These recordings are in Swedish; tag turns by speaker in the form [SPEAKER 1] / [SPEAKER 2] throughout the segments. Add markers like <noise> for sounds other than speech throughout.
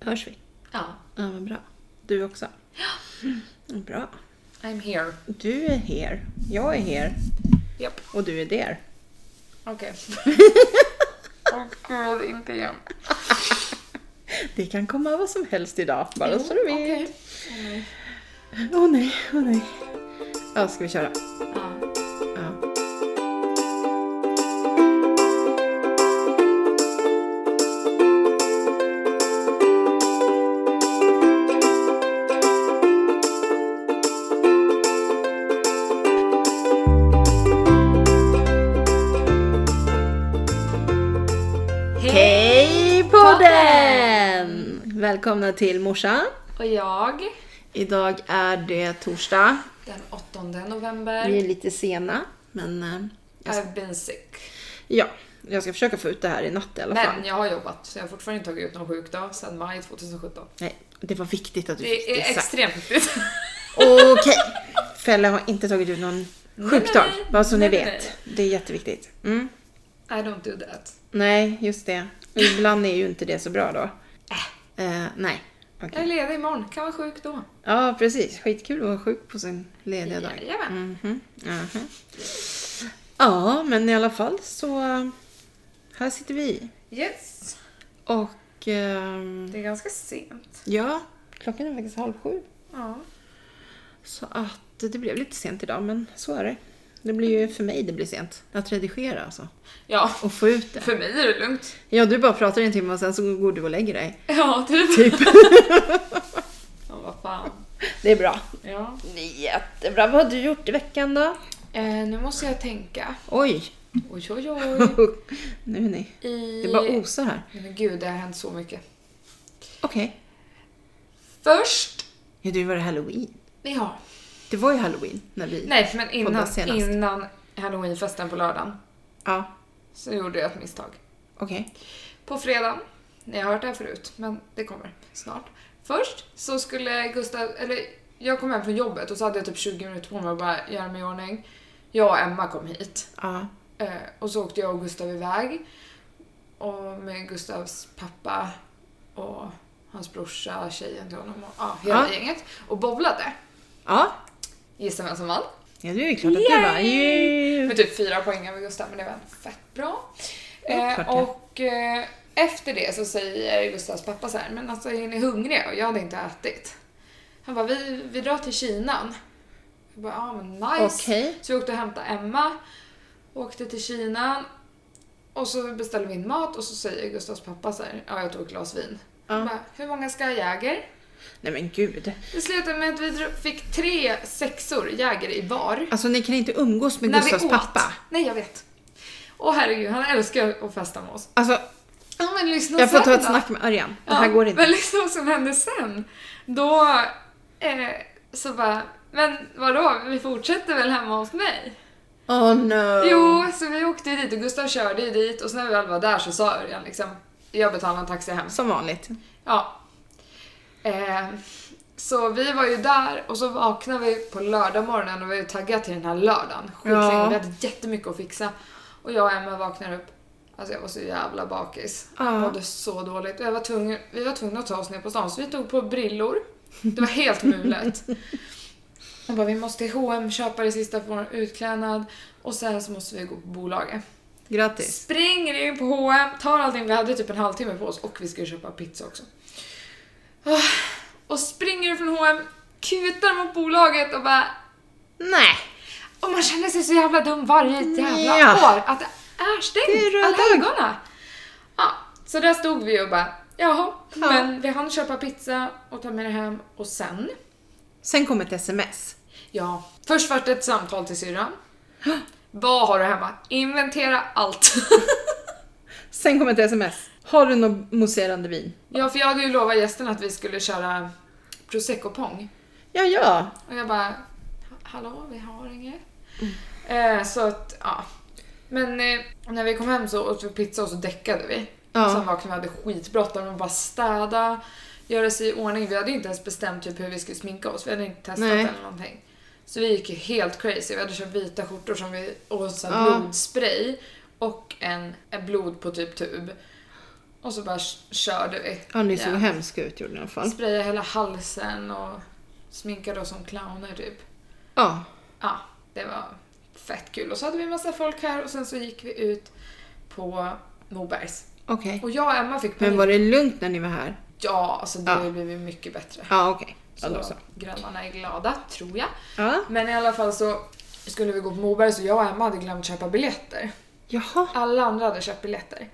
[SPEAKER 1] Hörs vi?
[SPEAKER 2] Ja.
[SPEAKER 1] Ja, vad bra. Du också? Ja. Bra.
[SPEAKER 2] I'm here.
[SPEAKER 1] Du är here. Jag är here.
[SPEAKER 2] Japp.
[SPEAKER 1] Och du är
[SPEAKER 2] <laughs>
[SPEAKER 1] där.
[SPEAKER 2] Okej. Åh gud, inte igen.
[SPEAKER 1] Det kan komma vad som helst idag, bara så du vet. Åh
[SPEAKER 2] Okej. Åh, nej.
[SPEAKER 1] nej, åh nej. Ja, ska vi köra?
[SPEAKER 2] Ja.
[SPEAKER 1] Ja. Hej podden! Välkomna till morsan.
[SPEAKER 2] Och jag,
[SPEAKER 1] Idag är det torsdag.
[SPEAKER 2] den 8 november,
[SPEAKER 1] Vi är lite sena, men eh, jag ska,
[SPEAKER 2] I've been sick.
[SPEAKER 1] ja, jag ska försöka få ut det här i natt i alla fall.
[SPEAKER 2] Men jag har jobbat, så jag har fortfarande inte tagit ut någon sjukdag sedan maj 2017.
[SPEAKER 1] Nej, det var viktigt att du fick
[SPEAKER 2] Det
[SPEAKER 1] det
[SPEAKER 2] är
[SPEAKER 1] sagt.
[SPEAKER 2] extremt viktigt. <laughs>
[SPEAKER 1] Okej, Felle har inte tagit ut någon sjukdag,
[SPEAKER 2] nej,
[SPEAKER 1] bara så ni
[SPEAKER 2] nej, nej,
[SPEAKER 1] vet. Det är jätteviktigt. Mm.
[SPEAKER 2] I don't do that.
[SPEAKER 1] Nej, just det. Och Ibland är ju inte det så bra då.
[SPEAKER 2] Äh.
[SPEAKER 1] Eh, nej, okej.
[SPEAKER 2] Jag är ledig imorgon, kan vara sjuk då.
[SPEAKER 1] Ja, precis. Skitkul att vara sjuk på sin lediga dag.
[SPEAKER 2] Jajamän.
[SPEAKER 1] Mhm, mhm. Ja, men i alla fall så... eh, Här sitter vi.
[SPEAKER 2] Yes.
[SPEAKER 1] Och... ehm,
[SPEAKER 2] Det är ganska sent.
[SPEAKER 1] ja, klockan är faktiskt halv sju.
[SPEAKER 2] Ja.
[SPEAKER 1] Så att det blev lite sent idag, men så är det. Det blir ju för mig det blir sent. Att redigera alltså.
[SPEAKER 2] Ja,
[SPEAKER 1] Och få ut det.
[SPEAKER 2] för mig är det lugnt. <laughs>
[SPEAKER 1] Ja, du bara pratar i en timme och sen så går du och lägger dig.
[SPEAKER 2] Ja, typ.
[SPEAKER 1] Typ.
[SPEAKER 2] <laughs> Ja, vad fan.
[SPEAKER 1] Det är bra.
[SPEAKER 2] Ja.
[SPEAKER 1] Jättebra. Vad har du gjort i veckan då?
[SPEAKER 2] Eh, nu måste jag tänka.
[SPEAKER 1] Oj!
[SPEAKER 2] Oj, oj, <laughs> oj.
[SPEAKER 1] <laughs> nu är ni.
[SPEAKER 2] I...
[SPEAKER 1] Det bara osar här.
[SPEAKER 2] Men gud, det har hänt så mycket.
[SPEAKER 1] Okej.
[SPEAKER 2] Först...
[SPEAKER 1] Ja, du var det halloween.
[SPEAKER 2] Ja.
[SPEAKER 1] Det var ju halloween när vi...
[SPEAKER 2] Nej, men innan,
[SPEAKER 1] Podda senast.
[SPEAKER 2] innan halloweenfesten på lördagen
[SPEAKER 1] Ja,
[SPEAKER 2] så gjorde jag ett misstag.
[SPEAKER 1] okej.
[SPEAKER 2] På fredagen, ni har hört det här förut, men det kommer snart. Först så skulle Gustav, eller jag kom hem från jobbet och så hade jag typ 20 minuter på mig att bara göra mig i ordning. Jag och Emma kom hit.
[SPEAKER 1] Ja.
[SPEAKER 2] Eh, och så åkte jag och Gustav iväg. Och med Gustavs pappa och hans brorsa, tjejen till honom och ja, hela
[SPEAKER 1] Ja.
[SPEAKER 2] gänget. Och bowlade.
[SPEAKER 1] Ja.
[SPEAKER 2] Gissa vem som vann?
[SPEAKER 1] Ja, det är ju klart att du
[SPEAKER 2] Yay!
[SPEAKER 1] bara... Yay!
[SPEAKER 2] Med typ fyra poäng över Gustav, men det var fett bra.
[SPEAKER 1] Ja, klart
[SPEAKER 2] Eh,
[SPEAKER 1] det.
[SPEAKER 2] och eh, efter det så säger Gustavs pappa så här, men alltså är ni hungriga? Och jag hade inte ätit. Han bara, vi, vi drar till Kinan. Jag bara, ja men nice.
[SPEAKER 1] Okej.
[SPEAKER 2] Så vi åkte och hämtade Emma, åkte till Kina och så beställde vi in mat och så säger Gustavs pappa så här, ja jag tog ett glas vin.
[SPEAKER 1] Ja.
[SPEAKER 2] Han Bara, Hur många ska ha Jäger?
[SPEAKER 1] Nej men gud.
[SPEAKER 2] Det slutade med att vi dro- fick tre sexor Jäger i var.
[SPEAKER 1] Alltså ni kan inte umgås med
[SPEAKER 2] när vi
[SPEAKER 1] Gustavs
[SPEAKER 2] åt.
[SPEAKER 1] pappa.
[SPEAKER 2] Nej jag vet. Åh herregud, han älskar ju att festa med oss.
[SPEAKER 1] Alltså,
[SPEAKER 2] Ja men lyssna
[SPEAKER 1] jag får
[SPEAKER 2] sen
[SPEAKER 1] ta ett
[SPEAKER 2] då.
[SPEAKER 1] snack med Örjan. Det
[SPEAKER 2] Ja,
[SPEAKER 1] här går inte.
[SPEAKER 2] Men lyssna vad som hände sen. Då eh, så bara, men vadå, vi fortsätter väl hemma hos mig?
[SPEAKER 1] Oh no.
[SPEAKER 2] Jo, så vi åkte ju dit och Gustav körde ju dit och sen när vi väl var där så sa Örjan liksom Jag betalar en taxi hem.
[SPEAKER 1] Som vanligt.
[SPEAKER 2] Ja. Eh, så vi var ju där och så vaknade vi på lördag morgonen och vi var ju taggade till den här lördagen. Skitlänge,
[SPEAKER 1] Ja.
[SPEAKER 2] vi hade jättemycket att fixa. Och jag och Emma vaknar upp. Alltså jag var så jävla bakis.
[SPEAKER 1] Ja.
[SPEAKER 2] Jag mådde så dåligt. Och Jag var tvungen, vi var tvungna att ta oss ner på stan så vi tog på brillor. Det var helt mulet. Och bara, vi måste till H&M köpa det sista för vår utklädnad och sen så måste vi gå på bolaget.
[SPEAKER 1] Grattis.
[SPEAKER 2] Springer in på H&M, tar allting, vi hade typ en halvtimme på oss och vi skulle köpa pizza också. Ah, Och springer från H&M, kutar mot bolaget och bara...
[SPEAKER 1] Nej.
[SPEAKER 2] Och man känner sig så jävla dum varje jävla
[SPEAKER 1] Ja.
[SPEAKER 2] år att det är
[SPEAKER 1] Det är
[SPEAKER 2] stängt
[SPEAKER 1] röd
[SPEAKER 2] allhelgona. Ja, så där stod vi och bara, jaha,
[SPEAKER 1] Ja.
[SPEAKER 2] men vi hann köpa pizza och ta med det hem och sen
[SPEAKER 1] Sen kom ett sms.
[SPEAKER 2] Ja. Först vart det ett samtal till syrran. Vad har du hemma? Inventera allt.
[SPEAKER 1] <laughs> Sen kom ett sms. Har du något mousserande vin?
[SPEAKER 2] ja, för jag hade ju lovat gästerna att vi skulle köra prosecco-pong.
[SPEAKER 1] Ja, ja.
[SPEAKER 2] Och jag bara, hallå, vi har inget. Eh, så att, ja. Men eh, när vi kom hem så åt vi pizza och så däckade vi.
[SPEAKER 1] Ja.
[SPEAKER 2] Och sen vaknade vi och hade skitbråttom och bara städa, göra sig i ordning. Vi hade ju inte ens bestämt typ hur vi skulle sminka oss. Vi hade inte testat
[SPEAKER 1] Nej.
[SPEAKER 2] eller någonting. Så vi gick ju helt crazy. Vi hade köpt vita skjortor som vi, och så här
[SPEAKER 1] Ja.
[SPEAKER 2] blodspray och en, en blod på typ tub. Och så bara körde vi.
[SPEAKER 1] Ja, ni såg
[SPEAKER 2] Ja.
[SPEAKER 1] hemska ut gjorde ni i alla fall.
[SPEAKER 2] Sprayade hela halsen och sminkade oss som clowner typ.
[SPEAKER 1] Ja,
[SPEAKER 2] Ja, det var fett kul. Och så hade vi en massa folk här och sen så gick vi ut på Mobergs.
[SPEAKER 1] okej.
[SPEAKER 2] Och jag och Emma fick panik.
[SPEAKER 1] Men var det lugnt när ni var här?
[SPEAKER 2] Ja, alltså det har ju
[SPEAKER 1] Ja.
[SPEAKER 2] blivit mycket bättre.
[SPEAKER 1] Ja, okej. Ja, då
[SPEAKER 2] Så
[SPEAKER 1] så.
[SPEAKER 2] grannarna är glada, tror jag.
[SPEAKER 1] Ja.
[SPEAKER 2] Men i alla fall så skulle vi gå på Mobergs och jag och Emma hade glömt köpa biljetter.
[SPEAKER 1] Jaha.
[SPEAKER 2] Alla andra hade köpt biljetter.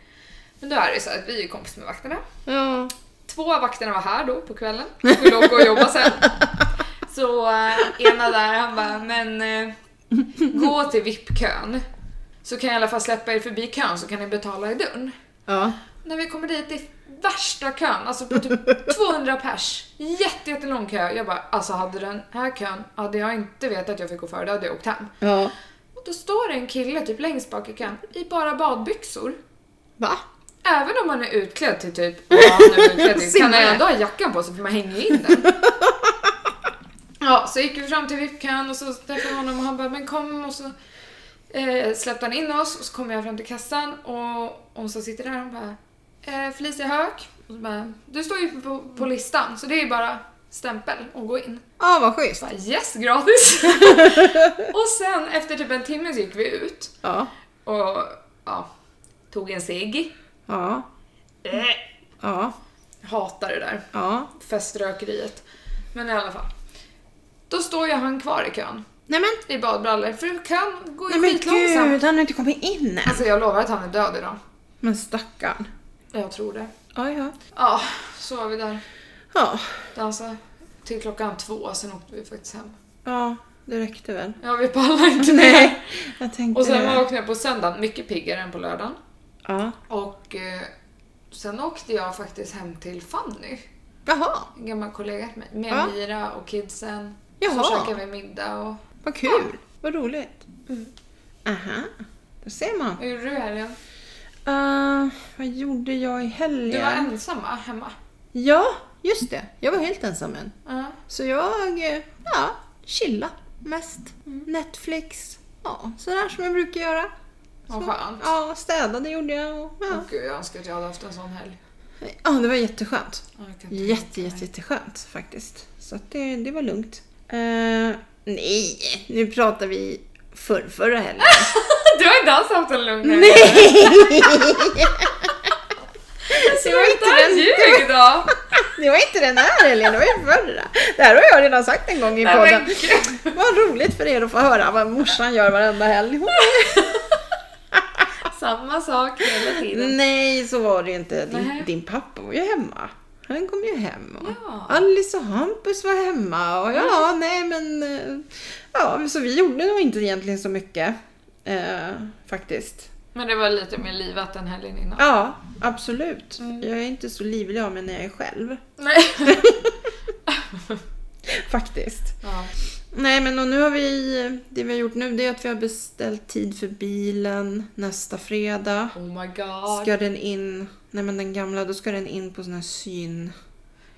[SPEAKER 2] Men då är det ju så att vi är kompis med vakterna.
[SPEAKER 1] Ja.
[SPEAKER 2] Två av vakterna var här då på kvällen. Skulle åka och jobba sen. <laughs> Så eh, ena där han bara, men eh, gå till VIP-kön. Så kan jag i alla fall släppa er förbi kön så kan ni betala i dörren.
[SPEAKER 1] Ja.
[SPEAKER 2] När vi kommer dit, det är värsta kön, alltså på <laughs> typ 200 pers. Jätte, jättelång kö. Jag bara, alltså hade den här kön, hade jag inte vetat att jag fick gå före, då hade jag åkt hem.
[SPEAKER 1] Ja.
[SPEAKER 2] Och då står det en kille typ längst bak i kön, i bara badbyxor.
[SPEAKER 1] Va?
[SPEAKER 2] Även om man är utklädd till typ, ja, han är utklädd till, kan
[SPEAKER 1] Simmare.
[SPEAKER 2] han ändå ha jackan på sig för man hänger ju in den. Ja, så gick vi fram till VIP-kön och så träffade vi honom och han bara, men kom och så eh, släppte han in oss och så kom jag fram till kassan och hon som sitter där hon bara, eh, Felicia Höök. Och så bara, du står ju på, på listan så det är ju bara stämpel och gå in.
[SPEAKER 1] Ja, vad schysst.
[SPEAKER 2] Jag bara, yes, gratis! och sen efter typ en timme så gick vi ut
[SPEAKER 1] Ja.
[SPEAKER 2] och ja, tog en cigg.
[SPEAKER 1] Ja.
[SPEAKER 2] Eh,
[SPEAKER 1] Ja.
[SPEAKER 2] Hatar det där
[SPEAKER 1] Ja.
[SPEAKER 2] feströkeriet. Men i alla fall. Då står ju han kvar i kön
[SPEAKER 1] Nej men,
[SPEAKER 2] i badbrallor för kön går
[SPEAKER 1] nej
[SPEAKER 2] ju
[SPEAKER 1] men
[SPEAKER 2] skitlångsamt.
[SPEAKER 1] gud, han har inte kommit in än.
[SPEAKER 2] Alltså jag lovar att han är död idag.
[SPEAKER 1] Men stackarn.
[SPEAKER 2] Jag tror det.
[SPEAKER 1] Ja, ja.
[SPEAKER 2] Ja, så var vi där.
[SPEAKER 1] Ja.
[SPEAKER 2] Dansade till klockan två, sen åkte vi faktiskt hem.
[SPEAKER 1] Ja, det räckte väl.
[SPEAKER 2] Ja, vi pallade inte mer.
[SPEAKER 1] Nej, <laughs> jag tänkte
[SPEAKER 2] Och sen
[SPEAKER 1] det.
[SPEAKER 2] vaknade jag på söndagen, mycket piggare än på lördagen.
[SPEAKER 1] Ja.
[SPEAKER 2] Och eh, sen åkte jag faktiskt hem till Fanny,
[SPEAKER 1] Jaha,
[SPEAKER 2] en gammal kollega till mig, med
[SPEAKER 1] Ja.
[SPEAKER 2] Mira och kidsen.
[SPEAKER 1] Jaha.
[SPEAKER 2] Så käkade vi middag och...
[SPEAKER 1] vad kul. Vad roligt. Aha, då ser man.
[SPEAKER 2] Hur gjorde du i helgen?
[SPEAKER 1] Eh, vad gjorde jag i
[SPEAKER 2] Du var
[SPEAKER 1] helgen?
[SPEAKER 2] ensam va? Hemma?
[SPEAKER 1] Ja, just det. Jag var helt ensam än.
[SPEAKER 2] Ja.
[SPEAKER 1] Så jag, eh, ja, chilla mest. Netflix, ja, sådär som jag brukar göra.
[SPEAKER 2] Vad skönt.
[SPEAKER 1] Ja, städade gjorde jag och
[SPEAKER 2] Åh
[SPEAKER 1] ja.
[SPEAKER 2] gud, jag önskar att jag hade haft en sån helg.
[SPEAKER 1] ja det var jätteskönt.
[SPEAKER 2] Ja, jag kan inte
[SPEAKER 1] Jätte,
[SPEAKER 2] tänka mig.
[SPEAKER 1] jätte, jätteskönt faktiskt. Så att det, det var lugnt. Eh, nej, nu pratar vi förr, förra helgen. <laughs>
[SPEAKER 2] Du har inte alls haft en lugn helg.
[SPEAKER 1] nej!
[SPEAKER 2] det
[SPEAKER 1] var inte den-
[SPEAKER 2] ljug då!
[SPEAKER 1] Det var inte den här helgen, det var ju förra. Det här har jag redan sagt en gång i
[SPEAKER 2] Nej, men
[SPEAKER 1] podden.
[SPEAKER 2] gud.
[SPEAKER 1] Vad roligt för er att få höra vad morsan gör varenda helg.
[SPEAKER 2] Samma sak hela tiden.
[SPEAKER 1] Nej, så var det ju inte. Din,
[SPEAKER 2] Mm. Nej.
[SPEAKER 1] din pappa var ju hemma. Han kom ju hem. Och
[SPEAKER 2] Ja.
[SPEAKER 1] Alice och Hampus var hemma. Och ja, nej men... eh, Ja, men så vi gjorde nog inte egentligen så mycket. Eh, faktiskt.
[SPEAKER 2] Men det var lite mer livat än helgen innan.
[SPEAKER 1] Ja, absolut.
[SPEAKER 2] Mm.
[SPEAKER 1] Jag är inte så livlig av mig när jag är själv.
[SPEAKER 2] Nej.
[SPEAKER 1] Faktiskt.
[SPEAKER 2] Ja.
[SPEAKER 1] Nej men och nu har vi, det vi har gjort nu det är att vi har beställt tid för bilen nästa fredag.
[SPEAKER 2] Oh my god.
[SPEAKER 1] Ska den in, nej men den gamla, då ska den in på sån här syn.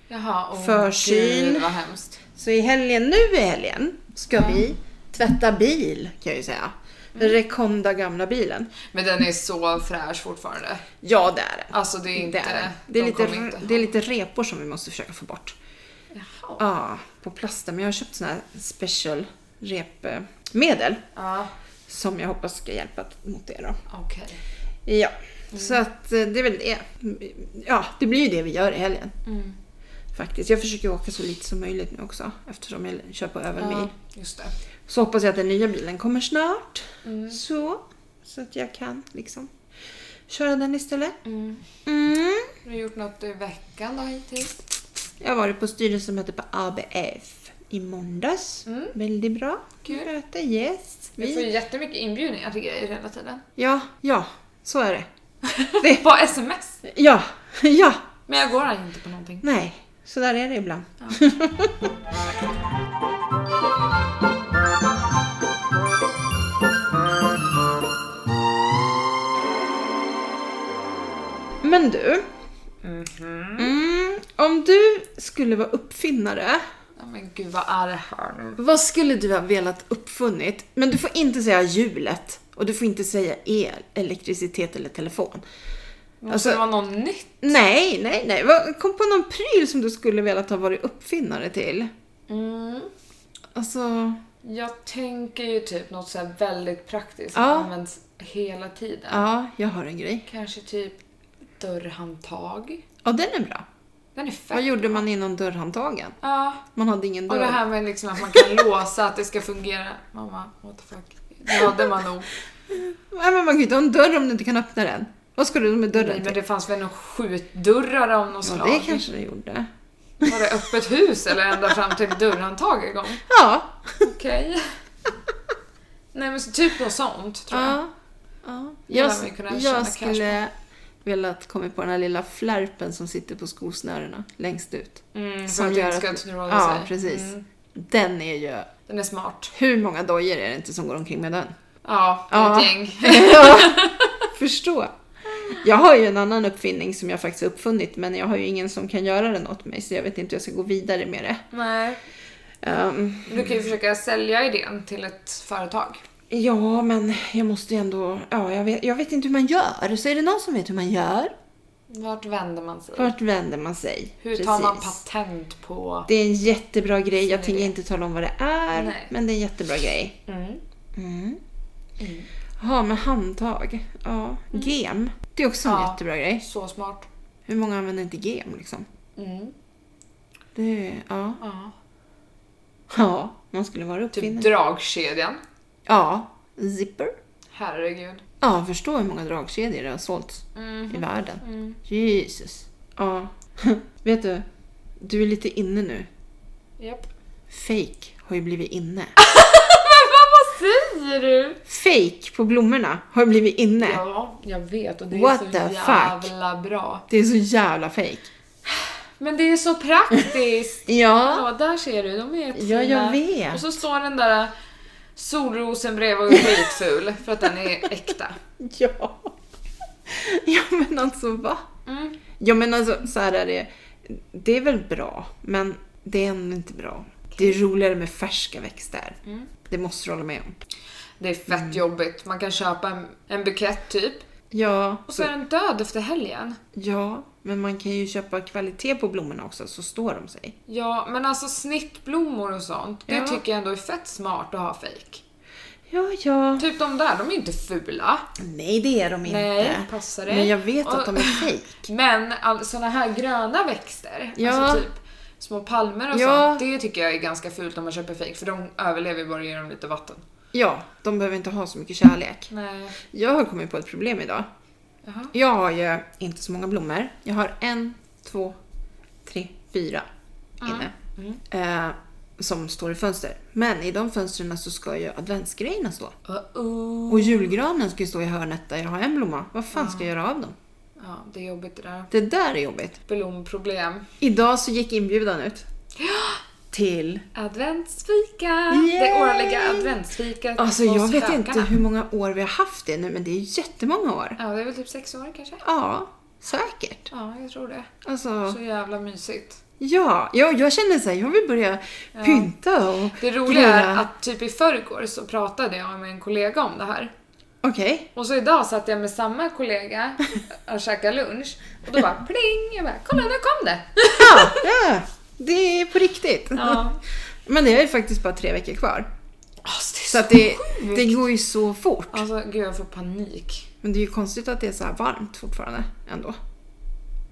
[SPEAKER 2] Jaha, oh
[SPEAKER 1] Försyn.
[SPEAKER 2] gud vad hemskt.
[SPEAKER 1] Så i helgen, nu i helgen, ska vi tvätta bil kan jag ju säga.
[SPEAKER 2] Mm.
[SPEAKER 1] Rekonda gamla bilen.
[SPEAKER 2] Men den är så fräsch fortfarande.
[SPEAKER 1] Ja det är det.
[SPEAKER 2] Alltså det är inte...
[SPEAKER 1] Det är, det. Det, är
[SPEAKER 2] de
[SPEAKER 1] lite,
[SPEAKER 2] kommer inte
[SPEAKER 1] det är
[SPEAKER 2] ha-
[SPEAKER 1] lite repor som vi måste försöka få bort.
[SPEAKER 2] Jaha.
[SPEAKER 1] Ja, på plasten. Men jag har köpt sån här special repmedel.
[SPEAKER 2] Ja,
[SPEAKER 1] Som jag hoppas ska hjälpa mot det då.
[SPEAKER 2] okej.
[SPEAKER 1] Ja,
[SPEAKER 2] Mm.
[SPEAKER 1] så att eh, det är väl det. Ja, det blir ju det vi gör i helgen
[SPEAKER 2] Mm.
[SPEAKER 1] faktiskt. Jag försöker åka så lite som möjligt nu också eftersom jag kör på övermil.
[SPEAKER 2] Ja, Mm. just det.
[SPEAKER 1] Så hoppas jag att den nya bilen kommer snart.
[SPEAKER 2] Mm.
[SPEAKER 1] Så, så att jag kan liksom köra den istället.
[SPEAKER 2] Mm.
[SPEAKER 1] Mm.
[SPEAKER 2] Har du gjort något i veckan då hittills?
[SPEAKER 1] Jag har varit på styrelsemöte på ABF i måndags.
[SPEAKER 2] Mm.
[SPEAKER 1] Väldigt bra.
[SPEAKER 2] Kul.
[SPEAKER 1] Möte, yes.
[SPEAKER 2] Vi får
[SPEAKER 1] Vi...
[SPEAKER 2] ju jättemycket inbjudningar till grejer hela tiden.
[SPEAKER 1] Ja, ja, så är det.
[SPEAKER 2] På sms.
[SPEAKER 1] Ja, <laughs> ja,
[SPEAKER 2] Men jag går inte på någonting.
[SPEAKER 1] nej. Så där är det ibland. <laughs> Men du, mm, om du skulle vara uppfinnare,
[SPEAKER 2] Ja, men gud, vad är det här nu?
[SPEAKER 1] vad skulle du ha velat uppfunnit? Men du får inte säga hjulet och du får inte säga el, elektricitet eller telefon.
[SPEAKER 2] Måste
[SPEAKER 1] Alltså-
[SPEAKER 2] det vara något nytt?
[SPEAKER 1] Nej, nej, nej. Vad- Kom på någon pryl som du skulle velat ha varit uppfinnare till.
[SPEAKER 2] Mm.
[SPEAKER 1] Alltså,
[SPEAKER 2] Jag tänker ju typ något så här väldigt praktiskt som
[SPEAKER 1] Ja.
[SPEAKER 2] används hela tiden.
[SPEAKER 1] ja, jag har en grej.
[SPEAKER 2] Kanske typ dörrhandtag.
[SPEAKER 1] Ja, den är bra.
[SPEAKER 2] Den är fett
[SPEAKER 1] Vad gjorde
[SPEAKER 2] bra.
[SPEAKER 1] man innan dörrhandtagen?
[SPEAKER 2] Ja,
[SPEAKER 1] Man hade ingen
[SPEAKER 2] och det
[SPEAKER 1] dörr.
[SPEAKER 2] här med liksom att man kan <laughs> låsa, att det ska fungera. Mamma, what the fuck. Det hade man nog.
[SPEAKER 1] Nej, men man kan ju inte ha en dörr om du inte kan öppna den. Vad ska du med
[SPEAKER 2] Nej,
[SPEAKER 1] dörren
[SPEAKER 2] men
[SPEAKER 1] till?
[SPEAKER 2] det fanns väl några skjutdörrar av något
[SPEAKER 1] Ja,
[SPEAKER 2] slag?
[SPEAKER 1] det kanske det gjorde.
[SPEAKER 2] Var det öppet hus eller ända fram till dörrhandtag igång?
[SPEAKER 1] Ja.
[SPEAKER 2] Okej. Nej men så typ något sånt tror jag.
[SPEAKER 1] ja. ja.
[SPEAKER 2] Det
[SPEAKER 1] Jag,
[SPEAKER 2] lär man ju kunna tjäna
[SPEAKER 1] jag skulle velat komma på den här lilla flärpen som sitter på skosnörena längst ut.
[SPEAKER 2] Mm,
[SPEAKER 1] Som
[SPEAKER 2] för att det
[SPEAKER 1] gör
[SPEAKER 2] inte ska
[SPEAKER 1] att-
[SPEAKER 2] snurra
[SPEAKER 1] ja,
[SPEAKER 2] sig.
[SPEAKER 1] precis.
[SPEAKER 2] Mm,
[SPEAKER 1] Den är ju...
[SPEAKER 2] den är smart.
[SPEAKER 1] Hur många dojor är det inte som går omkring med den?
[SPEAKER 2] Ja,
[SPEAKER 1] Ja.
[SPEAKER 2] ett gäng.
[SPEAKER 1] Ja, <laughs> Förstå. Jag har ju en annan uppfinning som jag faktiskt har uppfunnit men jag har ju ingen som kan göra den åt mig så jag vet inte hur jag ska gå vidare med det.
[SPEAKER 2] Nej,
[SPEAKER 1] Ehm,
[SPEAKER 2] du kan ju försöka sälja idén till ett företag.
[SPEAKER 1] ja, men jag måste ju ändå... Ja, jag vet, jag vet inte hur man gör. Så är det någon som vet hur man gör?
[SPEAKER 2] Vart vänder man sig?
[SPEAKER 1] Vart vänder man sig?
[SPEAKER 2] Hur tar man
[SPEAKER 1] Precis.
[SPEAKER 2] patent på...
[SPEAKER 1] Det är en jättebra grej. Jag
[SPEAKER 2] Fin
[SPEAKER 1] tänker
[SPEAKER 2] idé.
[SPEAKER 1] inte tala om vad det är,
[SPEAKER 2] Nej.
[SPEAKER 1] men det är en jättebra grej.
[SPEAKER 2] Mm.
[SPEAKER 1] Mm. Ja, med handtag. Ja. Gem. Det är också en
[SPEAKER 2] Mm. Ja.
[SPEAKER 1] jättebra grej.
[SPEAKER 2] Så smart.
[SPEAKER 1] Hur många använder inte gem liksom?
[SPEAKER 2] Mm.
[SPEAKER 1] Det är, ja.
[SPEAKER 2] Ja.
[SPEAKER 1] Ja, man skulle vara
[SPEAKER 2] Typ
[SPEAKER 1] uppfinnare.
[SPEAKER 2] dragkedjan.
[SPEAKER 1] ja, zipper.
[SPEAKER 2] Herregud.
[SPEAKER 1] Ja, förstå hur många dragkedjor det har sålts
[SPEAKER 2] Mm.
[SPEAKER 1] i världen.
[SPEAKER 2] Mm.
[SPEAKER 1] Jesus. Ja. <laughs> Vet du? Du är lite inne nu.
[SPEAKER 2] Japp.
[SPEAKER 1] Fake har ju blivit inne.
[SPEAKER 2] Vad säger du?
[SPEAKER 1] Fake på blommorna har ju blivit inne.
[SPEAKER 2] Ja, jag vet och det
[SPEAKER 1] What
[SPEAKER 2] är så
[SPEAKER 1] the fuck?
[SPEAKER 2] jävla bra.
[SPEAKER 1] Det är så jävla fake.
[SPEAKER 2] Men det är så praktiskt.
[SPEAKER 1] <laughs> Ja.
[SPEAKER 2] ja, där ser du. De är
[SPEAKER 1] Ja, jag vet.
[SPEAKER 2] Och så står den där solrosen bredvid och är skitful för att den är äkta.
[SPEAKER 1] Ja. Ja men alltså va?
[SPEAKER 2] Mm.
[SPEAKER 1] Ja men alltså så här är det. Det är väl bra, men det är ändå inte bra. Det är roligare med färska växter.
[SPEAKER 2] Mm.
[SPEAKER 1] Det måste du hålla med om.
[SPEAKER 2] Det är fett
[SPEAKER 1] Mm.
[SPEAKER 2] jobbigt. Man kan köpa en, en bukett typ
[SPEAKER 1] Ja.
[SPEAKER 2] och så är den död efter helgen.
[SPEAKER 1] Ja, men man kan ju köpa kvalitet på blommorna också så står de sig.
[SPEAKER 2] Ja, men alltså snittblommor och sånt,
[SPEAKER 1] Ja.
[SPEAKER 2] det tycker jag ändå är fett smart att ha fake.
[SPEAKER 1] Ja, ja.
[SPEAKER 2] Typ de där, de är inte fula.
[SPEAKER 1] Nej, det är de inte.
[SPEAKER 2] Nej, passar dig.
[SPEAKER 1] Men jag vet
[SPEAKER 2] Och-
[SPEAKER 1] att de är fake.
[SPEAKER 2] Men all, såna här gröna växter,
[SPEAKER 1] Ja.
[SPEAKER 2] alltså typ små palmer och
[SPEAKER 1] Ja.
[SPEAKER 2] sånt, det tycker jag är ganska fult om man köper fake för de överlever ju bara genom lite vatten.
[SPEAKER 1] Ja, de behöver inte ha så mycket kärlek.
[SPEAKER 2] Nej.
[SPEAKER 1] Jag har kommit på ett problem idag.
[SPEAKER 2] Jaha.
[SPEAKER 1] Jag har ju inte så många blommor. Jag har en, två, tre, fyra inne. Eh, som står i fönster. Men i de fönstren så ska ju adventsgrejerna stå.
[SPEAKER 2] Uh-oh.
[SPEAKER 1] Och julgranen ska ju stå i hörnet där jag har en blomma. Vad fan ska jag göra av dem?
[SPEAKER 2] Ja, det är jobbigt det där.
[SPEAKER 1] Det där är jobbigt.
[SPEAKER 2] Blomproblem.
[SPEAKER 1] Idag så gick inbjudan ut. Till...
[SPEAKER 2] Adventsfika! Det
[SPEAKER 1] Yay!
[SPEAKER 2] årliga adventsfikat
[SPEAKER 1] Alltså
[SPEAKER 2] hos
[SPEAKER 1] jag vet
[SPEAKER 2] frökarna.
[SPEAKER 1] inte hur många år vi har haft det nu men det är jättemånga år.
[SPEAKER 2] Ja, det är väl typ sex år kanske?
[SPEAKER 1] Ja, säkert.
[SPEAKER 2] Ja, jag tror det.
[SPEAKER 1] Alltså,
[SPEAKER 2] Så jävla mysigt.
[SPEAKER 1] ja. Jag, jag känner såhär, jag vill börja pynta och
[SPEAKER 2] Det roliga är
[SPEAKER 1] greja.
[SPEAKER 2] att typ i förrgår så pratade jag med en kollega om det här.
[SPEAKER 1] Okej.
[SPEAKER 2] Och så idag satt jag med samma kollega och käkade lunch och då bara pling! Jag bara kolla nu kom det!
[SPEAKER 1] Ja, ja, det är på riktigt.
[SPEAKER 2] Ja.
[SPEAKER 1] Men det är ju faktiskt bara tre veckor kvar.
[SPEAKER 2] Alltså, det är
[SPEAKER 1] Så
[SPEAKER 2] så
[SPEAKER 1] att det, det går ju så fort.
[SPEAKER 2] Alltså gud jag får panik.
[SPEAKER 1] Men det är ju konstigt att det är så här varmt fortfarande ändå.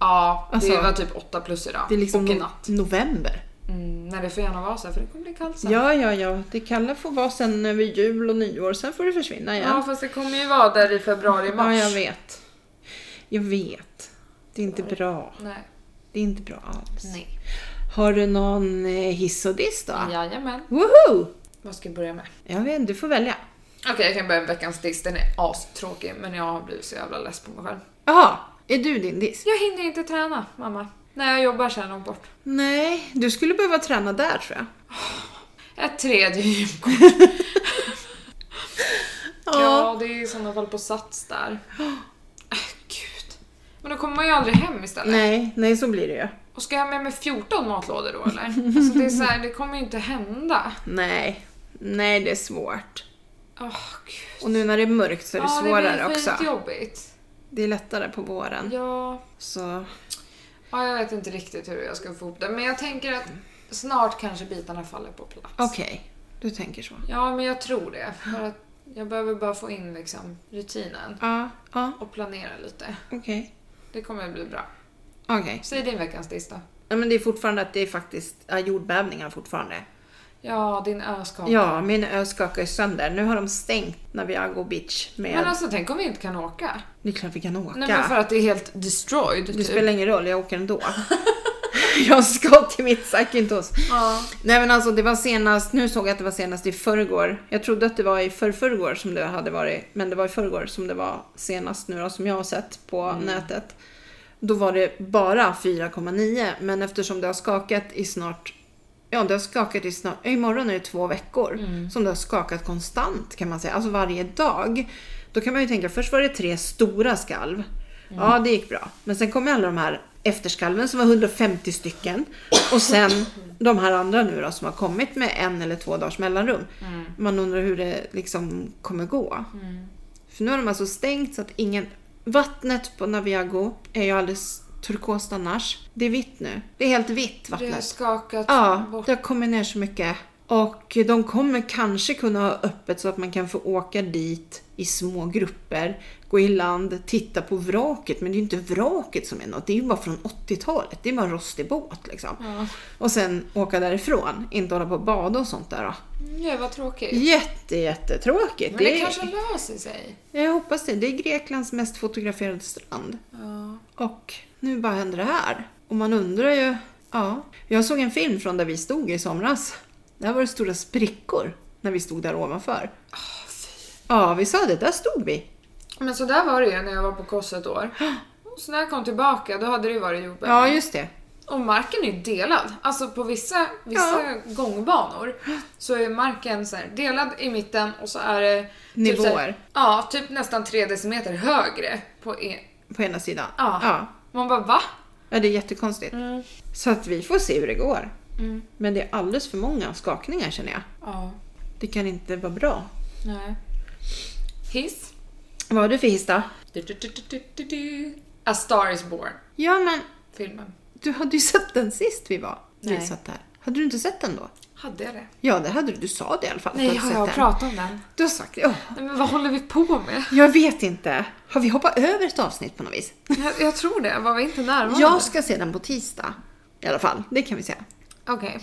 [SPEAKER 2] Ja,
[SPEAKER 1] Alltså,
[SPEAKER 2] det var typ 8 plus idag.
[SPEAKER 1] Det är liksom
[SPEAKER 2] och i
[SPEAKER 1] no-
[SPEAKER 2] natt.
[SPEAKER 1] november.
[SPEAKER 2] Mm, nej det får gärna vara så här, för det kommer bli kallt sen.
[SPEAKER 1] Ja, ja, ja. Det kalla får vara sen över jul och nyår, sen får det försvinna igen.
[SPEAKER 2] ja fast det kommer ju vara där i februari,
[SPEAKER 1] Ja,
[SPEAKER 2] mars.
[SPEAKER 1] jag vet. Jag vet. Det är inte bra.
[SPEAKER 2] Nej.
[SPEAKER 1] Det är inte bra alls.
[SPEAKER 2] nej.
[SPEAKER 1] Har du någon eh, hiss och diss då?
[SPEAKER 2] Jajamän.
[SPEAKER 1] Woho!
[SPEAKER 2] Vad ska jag börja med?
[SPEAKER 1] Jag vet inte, du får välja.
[SPEAKER 2] Okej jag kan börja med veckans diss, den är astråkig men jag har blivit så jävla less på mig själv.
[SPEAKER 1] Jaha, är du din diss?
[SPEAKER 2] Jag hinner inte träna mamma. När jag jobbar så här långt bort.
[SPEAKER 1] Nej, du skulle behöva träna där tror jag.
[SPEAKER 2] Ett tredje gymkort. Ja, det är i sådana fall på Sats
[SPEAKER 1] <gasps>
[SPEAKER 2] där. Äh, Gud. Men då kommer man ju aldrig hem istället.
[SPEAKER 1] Nej, nej så blir det ju.
[SPEAKER 2] Och ska jag ha med mig 14 matlådor då eller? Alltså det är så här, det kommer ju inte hända.
[SPEAKER 1] Nej. Nej, det är svårt.
[SPEAKER 2] Åh gud.
[SPEAKER 1] Och nu när det är mörkt så är det
[SPEAKER 2] Ja,
[SPEAKER 1] svårare också.
[SPEAKER 2] Det blir skitjobbigt.
[SPEAKER 1] Det är lättare på våren.
[SPEAKER 2] Ja,
[SPEAKER 1] Så
[SPEAKER 2] ja, jag vet inte riktigt hur jag ska få ihop det. Men jag tänker att snart kanske bitarna faller på plats.
[SPEAKER 1] okej, du tänker så.
[SPEAKER 2] Ja, men jag tror det. För att jag behöver bara få in liksom, rutinen
[SPEAKER 1] Ja, ja,
[SPEAKER 2] och planera lite.
[SPEAKER 1] okej.
[SPEAKER 2] Det kommer bli bra.
[SPEAKER 1] Okej.
[SPEAKER 2] Säg din veckans lista.
[SPEAKER 1] Ja, men det är fortfarande att det är faktiskt ja, jordbävningar fortfarande.
[SPEAKER 2] Ja, din öskaka.
[SPEAKER 1] Ja, min ö skakar sönder. Nu har de stängt Naviago Beach med...
[SPEAKER 2] Men alltså tänk om vi inte kan åka?
[SPEAKER 1] Det är klart vi kan åka.
[SPEAKER 2] Nej, men för att det är helt destroyed. typ.
[SPEAKER 1] Det spelar ingen roll, jag åker
[SPEAKER 2] <laughs>
[SPEAKER 1] ändå. jag ska till mitt Zakynthos.
[SPEAKER 2] Ja.
[SPEAKER 1] Nej men alltså det var senast, nu såg jag att det var senast i förrgår. Jag trodde att det var i förrförrgår som det hade varit, men det var i förrgår som det var senast nu då, som jag har sett på
[SPEAKER 2] Mm.
[SPEAKER 1] nätet. Då var det bara 4,9 men eftersom det har skakat i snart, ja det har skakat i snart, ja, imorgon är det två
[SPEAKER 2] Mm.
[SPEAKER 1] veckor som det har skakat konstant kan man säga, alltså varje dag. Då kan man ju tänka, först var det tre stora skalv. Ja, det gick bra. Men sen kom ju alla de här efterskalven som var 150 stycken. Och sen de här andra nu då som har kommit med en eller två dagars mellanrum. Man undrar hur det liksom kommer gå. För nu har de alltså stängt så att ingen... Vattnet på Naviago är ju alldeles turkost annars. Det är vitt nu. Det är helt vitt
[SPEAKER 2] Det har
[SPEAKER 1] vattnet.
[SPEAKER 2] skakat
[SPEAKER 1] Ja,
[SPEAKER 2] bort.
[SPEAKER 1] det har kommit ner så mycket. Och de kommer kanske kunna ha öppet så att man kan få åka dit i små grupper, gå i land, titta på vraket. Men det är ju inte vraket som är något, det är ju bara från 80-talet. Det är bara en rostig båt liksom.
[SPEAKER 2] Ja.
[SPEAKER 1] Och sen åka därifrån, inte hålla på och bada och sånt där. Då.
[SPEAKER 2] Nej, vad Mm, tråkigt.
[SPEAKER 1] Jätte, jättetråkigt.
[SPEAKER 2] Men det,
[SPEAKER 1] är-
[SPEAKER 2] kanske löser sig.
[SPEAKER 1] Jag hoppas det. Det är Greklands mest fotograferade strand.
[SPEAKER 2] Ja.
[SPEAKER 1] Och nu bara händer det här. Och man undrar ju. Ja. Jag såg en film från där vi stod i somras. Där var det stora sprickor när vi stod där ovanför. Ja, vi sa det. Där stod vi.
[SPEAKER 2] Men så där var det ju när jag var på Kos ett år. Och så när jag kom tillbaka då hade det ju varit jordbävning.
[SPEAKER 1] Ja, just det.
[SPEAKER 2] Och marken är ju delad. Alltså på vissa, vissa gångbanor så är marken så här delad i mitten och så är det... Typ så här,
[SPEAKER 1] Nivåer
[SPEAKER 2] ja, typ nästan tre decimeter högre. På en,
[SPEAKER 1] på ena sidan.
[SPEAKER 2] Ja.
[SPEAKER 1] Ja.
[SPEAKER 2] man bara va?
[SPEAKER 1] Ja, det är jättekonstigt. Så att vi får se hur det går.
[SPEAKER 2] Mm.
[SPEAKER 1] Men det är alldeles för många skakningar känner jag.
[SPEAKER 2] Ja,
[SPEAKER 1] Det kan inte vara bra.
[SPEAKER 2] nej. Hiss.
[SPEAKER 1] Vad har du för hiss då?
[SPEAKER 2] Du, du, du, du, du, du. A Star Is Born.
[SPEAKER 1] Ja, men
[SPEAKER 2] Filmen.
[SPEAKER 1] Du hade ju sett den sist vi var. Vi
[SPEAKER 2] Nej.
[SPEAKER 1] satt där. Hade du inte sett den då?
[SPEAKER 2] Hade jag det?
[SPEAKER 1] Ja, det hade du. Du sa det i alla fall. att du
[SPEAKER 2] Nej,
[SPEAKER 1] hade
[SPEAKER 2] har
[SPEAKER 1] sett
[SPEAKER 2] jag
[SPEAKER 1] den.
[SPEAKER 2] pratat om den?
[SPEAKER 1] Du har sagt det. Ja.
[SPEAKER 2] Nej, men vad håller vi på med?
[SPEAKER 1] jag vet inte. Har vi hoppat över ett avsnitt på något vis?
[SPEAKER 2] Jag, jag tror det. Var vi inte närvarande?
[SPEAKER 1] Jag ska se den på tisdag. I alla fall, det kan vi säga.
[SPEAKER 2] Okej.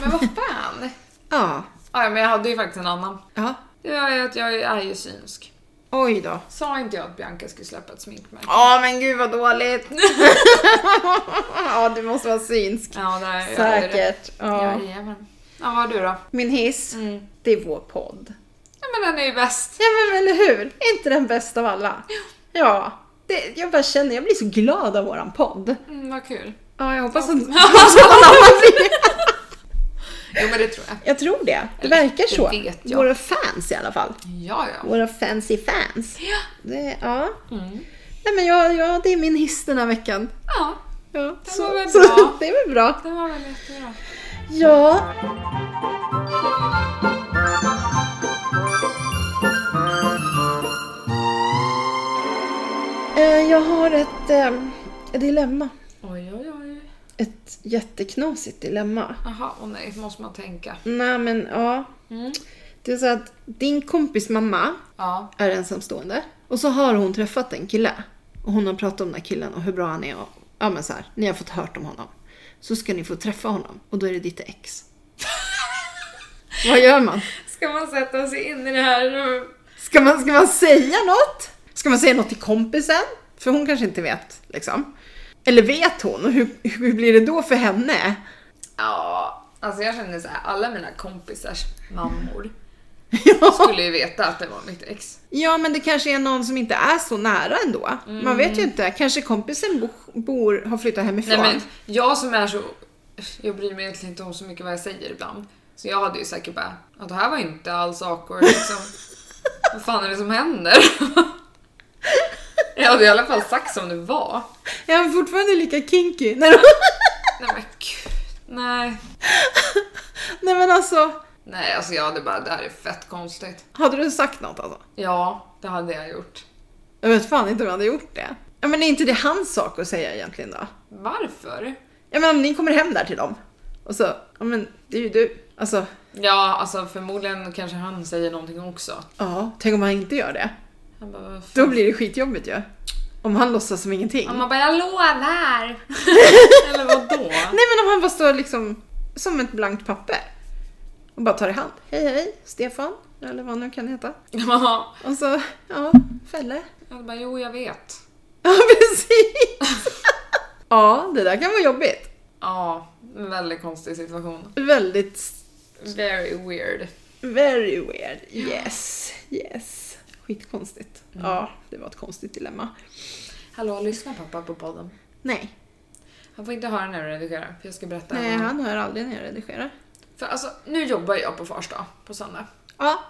[SPEAKER 2] Men vad fan?
[SPEAKER 1] Ja.
[SPEAKER 2] ah, ja, men jag hade ju faktiskt en annan.
[SPEAKER 1] ja.
[SPEAKER 2] Det var ju att jag är ju synsk.
[SPEAKER 1] Oj då.
[SPEAKER 2] Sa inte jag att Bianca skulle släppa ett sminkmärke?
[SPEAKER 1] Ja, men gud vad dåligt. <laughs> Ja, du måste vara synsk.
[SPEAKER 2] Ja, det är
[SPEAKER 1] Säkert.
[SPEAKER 2] Ja.
[SPEAKER 1] Ja.
[SPEAKER 2] Jajamän. Ja, vad har du då?
[SPEAKER 1] Min hiss,
[SPEAKER 2] Mm.
[SPEAKER 1] det är vår podd.
[SPEAKER 2] Ja, men den är ju bäst.
[SPEAKER 1] Ja, men eller hur? Är inte den bästa av alla? Ja. Det, jag bara känner, jag blir så glad av våran podd.
[SPEAKER 2] Mm, vad kul.
[SPEAKER 1] Ja, jag hoppas att alla
[SPEAKER 2] Jo, men det tror jag.
[SPEAKER 1] <laughs> Jag tror det. Det
[SPEAKER 2] Eller,
[SPEAKER 1] verkar så.
[SPEAKER 2] det vet jag.
[SPEAKER 1] Våra fans i alla fall.
[SPEAKER 2] Ja, ja.
[SPEAKER 1] Våra fancy fans.
[SPEAKER 2] Ja.
[SPEAKER 1] Det, ja.
[SPEAKER 2] Mm.
[SPEAKER 1] Nej, men jag, ja, det är min hiss den här veckan.
[SPEAKER 2] Ja,
[SPEAKER 1] Ja,
[SPEAKER 2] Det var väl bra.
[SPEAKER 1] <laughs> det är väl bra.
[SPEAKER 2] det var väl jättebra.
[SPEAKER 1] Ja. Eh, Jag har ett eh, dilemma.
[SPEAKER 2] Oj, oj, oj.
[SPEAKER 1] Ett jätteknasigt dilemma.
[SPEAKER 2] Jaha, och nej, måste man tänka.
[SPEAKER 1] Nej, men ja.
[SPEAKER 2] Mm.
[SPEAKER 1] Det är så att din kompis mamma
[SPEAKER 2] Ja.
[SPEAKER 1] är ensamstående. Och så har hon träffat en kille. Och hon har pratat om den här killen och hur bra han är. Och, ja men så här, ni har fått hört om honom. Så ska ni få träffa honom och då är det ditt
[SPEAKER 2] <laughs>
[SPEAKER 1] ex. Vad gör man?
[SPEAKER 2] Ska man sätta sig in i det här? och-
[SPEAKER 1] Ska man, ska man säga något? Ska man säga något till kompisen? För hon kanske inte vet liksom. Eller vet hon? Och hur, hur blir det då för henne? <laughs>
[SPEAKER 2] Ja, alltså jag känner så här, alla mina kompisars <laughs> mammor
[SPEAKER 1] Ja.
[SPEAKER 2] skulle ju veta att det var mitt ex.
[SPEAKER 1] ja men det kanske är någon som inte är så nära ändå. Man vet ju inte. Kanske kompisen bo, bor, har flyttat hemifrån.
[SPEAKER 2] Mm. Nej men jag som är så... Jag bryr mig egentligen inte om så mycket vad jag säger ibland. Så jag hade ju säkert bara, ja det här var ju inte alls awkward liksom. <laughs> vad fan är det som händer? <laughs> jag hade i alla fall sagt som det var.
[SPEAKER 1] Jag är fortfarande lika kinky. När de...
[SPEAKER 2] Nej men gud. Nej.
[SPEAKER 1] Nej men alltså,
[SPEAKER 2] Nej alltså jag hade bara, det här är fett konstigt.
[SPEAKER 1] hade du sagt något alltså?
[SPEAKER 2] Ja, det hade jag gjort.
[SPEAKER 1] Jag vet fan inte om jag hade gjort det. Ja, men är inte det hans sak att säga egentligen då?
[SPEAKER 2] Varför?
[SPEAKER 1] Ja, men om ni kommer hem där till dem. Och så, ja men det är ju du. Alltså,
[SPEAKER 2] Ja, alltså förmodligen kanske han säger någonting också.
[SPEAKER 1] ja, tänk om han inte gör det.
[SPEAKER 2] Han bara, "Vad fan?"
[SPEAKER 1] Då blir det skitjobbigt ju. Om han låtsas som ingenting.
[SPEAKER 2] Och man bara, jag <laughs> lovar! Eller vadå?
[SPEAKER 1] Nej men om han bara står liksom som ett blankt papper. Och bara tar i hand. Hej hej, Stefan. Eller vad han nu kan heta.
[SPEAKER 2] Ja,
[SPEAKER 1] Och så, ja, Fälle.
[SPEAKER 2] jag bara, jo jag vet.
[SPEAKER 1] Ja <laughs> precis. ja, det där kan vara jobbigt.
[SPEAKER 2] Ja, en väldigt konstig situation.
[SPEAKER 1] Väldigt
[SPEAKER 2] Very weird.
[SPEAKER 1] Very weird. Yes, yes. Mm. Skitkonstigt. Ja, det var ett konstigt dilemma.
[SPEAKER 2] Hallå, lyssnar pappa på podden?
[SPEAKER 1] Nej, Mm.
[SPEAKER 2] Han får inte höra när du redigerar, för jag ska berätta.
[SPEAKER 1] nej
[SPEAKER 2] om-
[SPEAKER 1] han hör aldrig när jag redigerar.
[SPEAKER 2] För alltså, nu jobbar jag på Fars dag, på söndag.
[SPEAKER 1] Ja,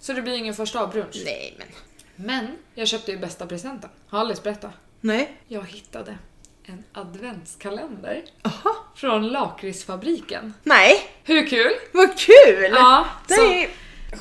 [SPEAKER 2] Så det blir ingen första brunch.
[SPEAKER 1] nej men.
[SPEAKER 2] Men jag köpte ju bästa presenten. Har Alice berättat?
[SPEAKER 1] Nej.
[SPEAKER 2] Jag hittade en adventskalender
[SPEAKER 1] Jaha.
[SPEAKER 2] från Lakritsfabriken.
[SPEAKER 1] Nej,
[SPEAKER 2] Hur kul?
[SPEAKER 1] vad kul!
[SPEAKER 2] Ja,
[SPEAKER 1] det
[SPEAKER 2] så-
[SPEAKER 1] är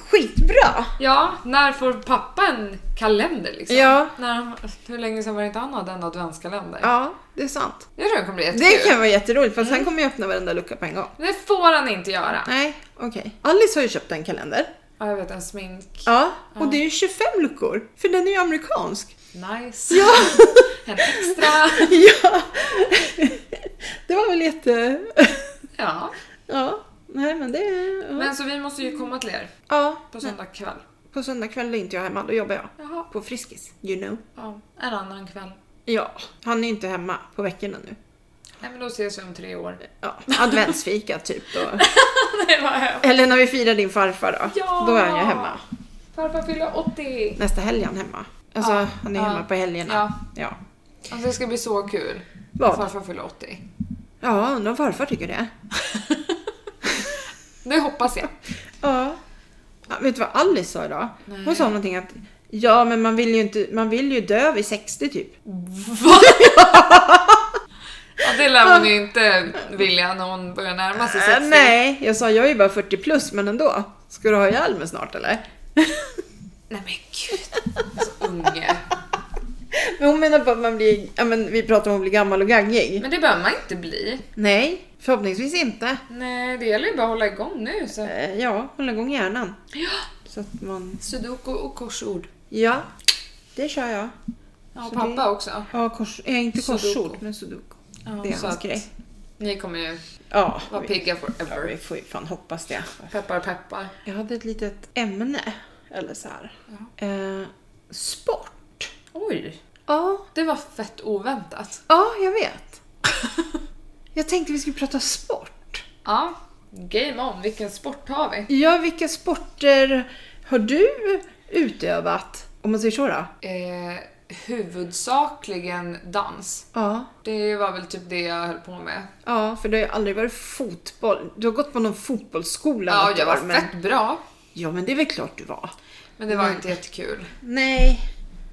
[SPEAKER 1] skitbra!
[SPEAKER 2] Ja, när får pappa en kalender liksom?
[SPEAKER 1] Ja.
[SPEAKER 2] När han, hur länge sedan var det inte han hade en adventskalender?
[SPEAKER 1] Ja, det är sant.
[SPEAKER 2] Jag tror det kommer bli jättekul.
[SPEAKER 1] Det kan vara jätteroligt för han kommer ju öppna varenda lucka på en gång.
[SPEAKER 2] Det får han inte göra.
[SPEAKER 1] Nej, okej. Alice har ju köpt en kalender.
[SPEAKER 2] Ja, jag vet, en smink.
[SPEAKER 1] Ja, och det är ju 25 luckor, för den är ju <laughs> amerikansk.
[SPEAKER 2] Nice. Ja. <laughs> en extra.
[SPEAKER 1] ja, <laughs> det var väl jätte...
[SPEAKER 2] Ja.
[SPEAKER 1] Ja, nej men det... Ja,
[SPEAKER 2] Men så vi måste ju komma till er
[SPEAKER 1] ja
[SPEAKER 2] på söndag kväll.
[SPEAKER 1] på söndag kväll är inte jag hemma, då jobbar jag.
[SPEAKER 2] Jaha.
[SPEAKER 1] På Friskis, you know.
[SPEAKER 2] Ja, en annan kväll.
[SPEAKER 1] Ja, han är inte hemma på veckorna nu.
[SPEAKER 2] Nej men då ses vi om tre år. <laughs>
[SPEAKER 1] Ja, adventsfika typ då.
[SPEAKER 2] Nej vad hemskt.
[SPEAKER 1] Eller när vi firar din farfar då.
[SPEAKER 2] Ja!
[SPEAKER 1] Då är han ju hemma.
[SPEAKER 2] Farfar fyller 80.
[SPEAKER 1] Nästa helg är han hemma. Alltså,
[SPEAKER 2] Ja,
[SPEAKER 1] han är
[SPEAKER 2] ja,
[SPEAKER 1] hemma på helgerna.
[SPEAKER 2] ja.
[SPEAKER 1] ja.
[SPEAKER 2] Alltså det ska bli så kul.
[SPEAKER 1] Vad?
[SPEAKER 2] Farfar fyller 80.
[SPEAKER 1] Ja, undrar om farfar tycker det.
[SPEAKER 2] Det hoppas jag.
[SPEAKER 1] Ja. ja. Vet du vad Alice sa idag?
[SPEAKER 2] Nej.
[SPEAKER 1] Hon sa någonting att Ja, men man vill ju, inte, man vill ju dö vid 60 typ.
[SPEAKER 2] Ja, det lär hon
[SPEAKER 1] <laughs>
[SPEAKER 2] ju inte vilja när hon börjar närma sig 60.
[SPEAKER 1] Äh, nej, jag sa jag är ju bara 40 plus, men ändå. Ska du ha ihjäl mig snart eller?
[SPEAKER 2] Nej men gud. Så unge.
[SPEAKER 1] <laughs> Men hon menar på att man blir, ja men vi pratar om att bli gammal och gaggig.
[SPEAKER 2] Men det behöver man inte bli.
[SPEAKER 1] Nej, förhoppningsvis inte.
[SPEAKER 2] Nej, det gäller ju bara att hålla igång nu. Så.
[SPEAKER 1] Eh, Ja, hålla igång hjärnan.
[SPEAKER 2] Ja.
[SPEAKER 1] Så att man,
[SPEAKER 2] Sudoku och korsord.
[SPEAKER 1] ja, det kör jag.
[SPEAKER 2] Ja, och
[SPEAKER 1] Så
[SPEAKER 2] pappa också.
[SPEAKER 1] Ja, kors, eh, inte
[SPEAKER 2] Sudoku.
[SPEAKER 1] korsord, men sudoku.
[SPEAKER 2] Ja,
[SPEAKER 1] Det är
[SPEAKER 2] så
[SPEAKER 1] hans
[SPEAKER 2] att
[SPEAKER 1] grej.
[SPEAKER 2] Ni kommer ju
[SPEAKER 1] Ja,
[SPEAKER 2] vara
[SPEAKER 1] vi,
[SPEAKER 2] pigga
[SPEAKER 1] ja, vi
[SPEAKER 2] forever.
[SPEAKER 1] får ju fan hoppas det.
[SPEAKER 2] Peppar peppar.
[SPEAKER 1] Jag hade ett litet ämne, eller så här.
[SPEAKER 2] Ja.
[SPEAKER 1] Eh, sport.
[SPEAKER 2] Oj,
[SPEAKER 1] Ja,
[SPEAKER 2] det var fett oväntat.
[SPEAKER 1] ja, jag <laughs> vet. jag tänkte vi skulle prata sport.
[SPEAKER 2] Ja, game on. Vilken sport har vi?
[SPEAKER 1] Ja, vilka sporter har du utövat? Om man säger så då?
[SPEAKER 2] Eh, huvudsakligen dans.
[SPEAKER 1] Ja.
[SPEAKER 2] Det var väl typ det jag höll på med.
[SPEAKER 1] Ja, för det har ju aldrig varit fotboll. Du har gått på någon fotbollsskola
[SPEAKER 2] Ja,
[SPEAKER 1] något
[SPEAKER 2] jag var
[SPEAKER 1] år, men... Mm.
[SPEAKER 2] fett bra.
[SPEAKER 1] Ja, men det är väl klart du var.
[SPEAKER 2] Men det var inte jättekul.
[SPEAKER 1] Nej.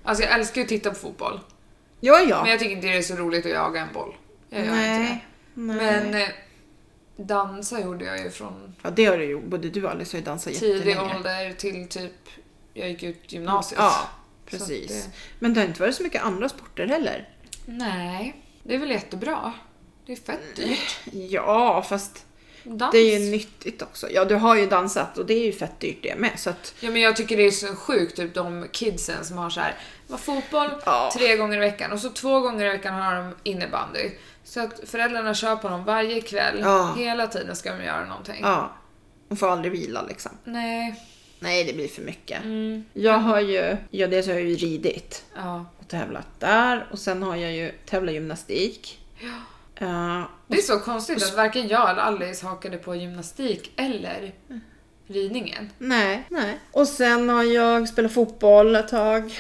[SPEAKER 2] Alltså jag älskar ju att titta på fotboll.
[SPEAKER 1] Ja,
[SPEAKER 2] Men
[SPEAKER 1] ja.
[SPEAKER 2] jag tycker inte det är så roligt att jaga en boll. Jag gör inte det.
[SPEAKER 1] Nej. Nej.
[SPEAKER 2] Men eh, dansa gjorde jag ju från
[SPEAKER 1] Ja, det har du ju. Både du och Alice har ju dansat
[SPEAKER 2] tidig
[SPEAKER 1] jättelänge.
[SPEAKER 2] ålder till typ jag gick ut gymnasiet.
[SPEAKER 1] Ja,
[SPEAKER 2] Så
[SPEAKER 1] precis.
[SPEAKER 2] att
[SPEAKER 1] Men det har inte varit så mycket andra sporter heller.
[SPEAKER 2] Nej, det är väl jättebra. Det är fett dyrt.
[SPEAKER 1] Ja, fast
[SPEAKER 2] Dans.
[SPEAKER 1] Mm. det är ju nyttigt också. Ja, du har ju dansat och det är ju fett dyrt det med. Så att,
[SPEAKER 2] Ja men jag tycker det är så sjukt typ de kidsen som har så här, vad fotboll
[SPEAKER 1] Ja.
[SPEAKER 2] tre gånger i veckan och så två gånger i veckan har de innebandy. Så att föräldrarna kör på dem varje kväll.
[SPEAKER 1] Ja.
[SPEAKER 2] Hela tiden ska de göra någonting.
[SPEAKER 1] ja. Man får aldrig vila liksom.
[SPEAKER 2] Nej.
[SPEAKER 1] Nej, det blir för mycket.
[SPEAKER 2] Mm.
[SPEAKER 1] Jag har ju, ja dels har jag ju ridit
[SPEAKER 2] Ja.
[SPEAKER 1] och tävlat där och sen har jag ju tävlat gymnastik.
[SPEAKER 2] ja.
[SPEAKER 1] Eh,
[SPEAKER 2] Det är så konstigt att varken jag eller Alice hakade på gymnastik eller ridningen.
[SPEAKER 1] nej, nej. Och sen har jag spelat fotboll ett tag.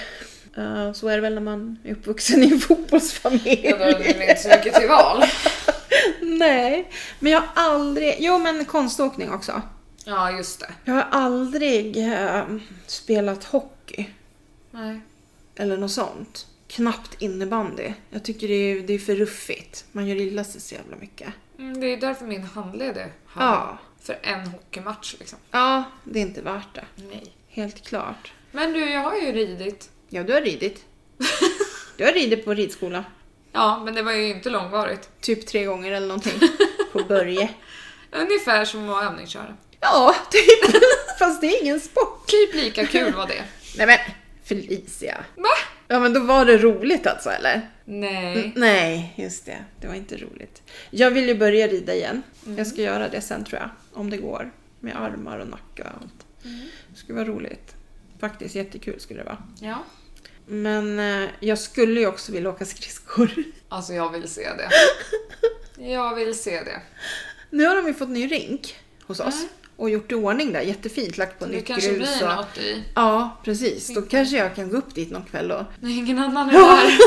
[SPEAKER 1] Eh, så är det väl när man är uppvuxen i en fotbollsfamilj.
[SPEAKER 2] Ja, då hade vi inte så mycket till val.
[SPEAKER 1] <laughs> Nej, men jag har aldrig... Jo, men konståkning också.
[SPEAKER 2] Ja, just det.
[SPEAKER 1] Jag har aldrig eh, spelat hockey
[SPEAKER 2] Nej.
[SPEAKER 1] eller något sånt. Knappt innebandy. Jag tycker det är, det är för ruffigt. Man gör illa sig så jävla mycket.
[SPEAKER 2] Mm, det är därför min handled är här.
[SPEAKER 1] Ja.
[SPEAKER 2] För en hockeymatch liksom.
[SPEAKER 1] Ja, det är inte värt det.
[SPEAKER 2] Nej.
[SPEAKER 1] Helt klart.
[SPEAKER 2] Men du, jag har ju ridit.
[SPEAKER 1] <laughs> Ja, du har ridit. Du har ridit på ridskola.
[SPEAKER 2] Ja, men det var ju inte långvarigt.
[SPEAKER 1] Typ tre gånger eller <laughs> någonting. På Börje.
[SPEAKER 2] Ungefär som att övningsköra.
[SPEAKER 1] Ja, typ. <laughs> Fast det är ingen sport.
[SPEAKER 2] Typ lika kul
[SPEAKER 1] <laughs>
[SPEAKER 2] var det.
[SPEAKER 1] Nej men, Felicia.
[SPEAKER 2] Va?
[SPEAKER 1] Ja men då var det roligt alltså eller? Mm.
[SPEAKER 2] Nej.
[SPEAKER 1] Nej, just det. Det var inte roligt. Jag vill ju börja rida igen.
[SPEAKER 2] Mm.
[SPEAKER 1] Jag ska göra det sen tror jag. Om det går. Med armar och nacke och allt.
[SPEAKER 2] Mm.
[SPEAKER 1] Det skulle vara roligt. Faktiskt jättekul skulle det vara.
[SPEAKER 2] Ja.
[SPEAKER 1] Men eh, jag skulle ju också vilja åka skridskor. <laughs>
[SPEAKER 2] Alltså jag vill se det. Jag vill se det.
[SPEAKER 1] Nu har de ju fått ny rink hos oss.
[SPEAKER 2] Mm.
[SPEAKER 1] Och gjort i ordning där. Jättefint. Lagt på
[SPEAKER 2] Det
[SPEAKER 1] nytt
[SPEAKER 2] kanske
[SPEAKER 1] grus.
[SPEAKER 2] blir
[SPEAKER 1] Och...
[SPEAKER 2] något i...
[SPEAKER 1] Ja, precis. Då kanske jag kan gå upp dit någon kväll och
[SPEAKER 2] Nej, ingen annan är där.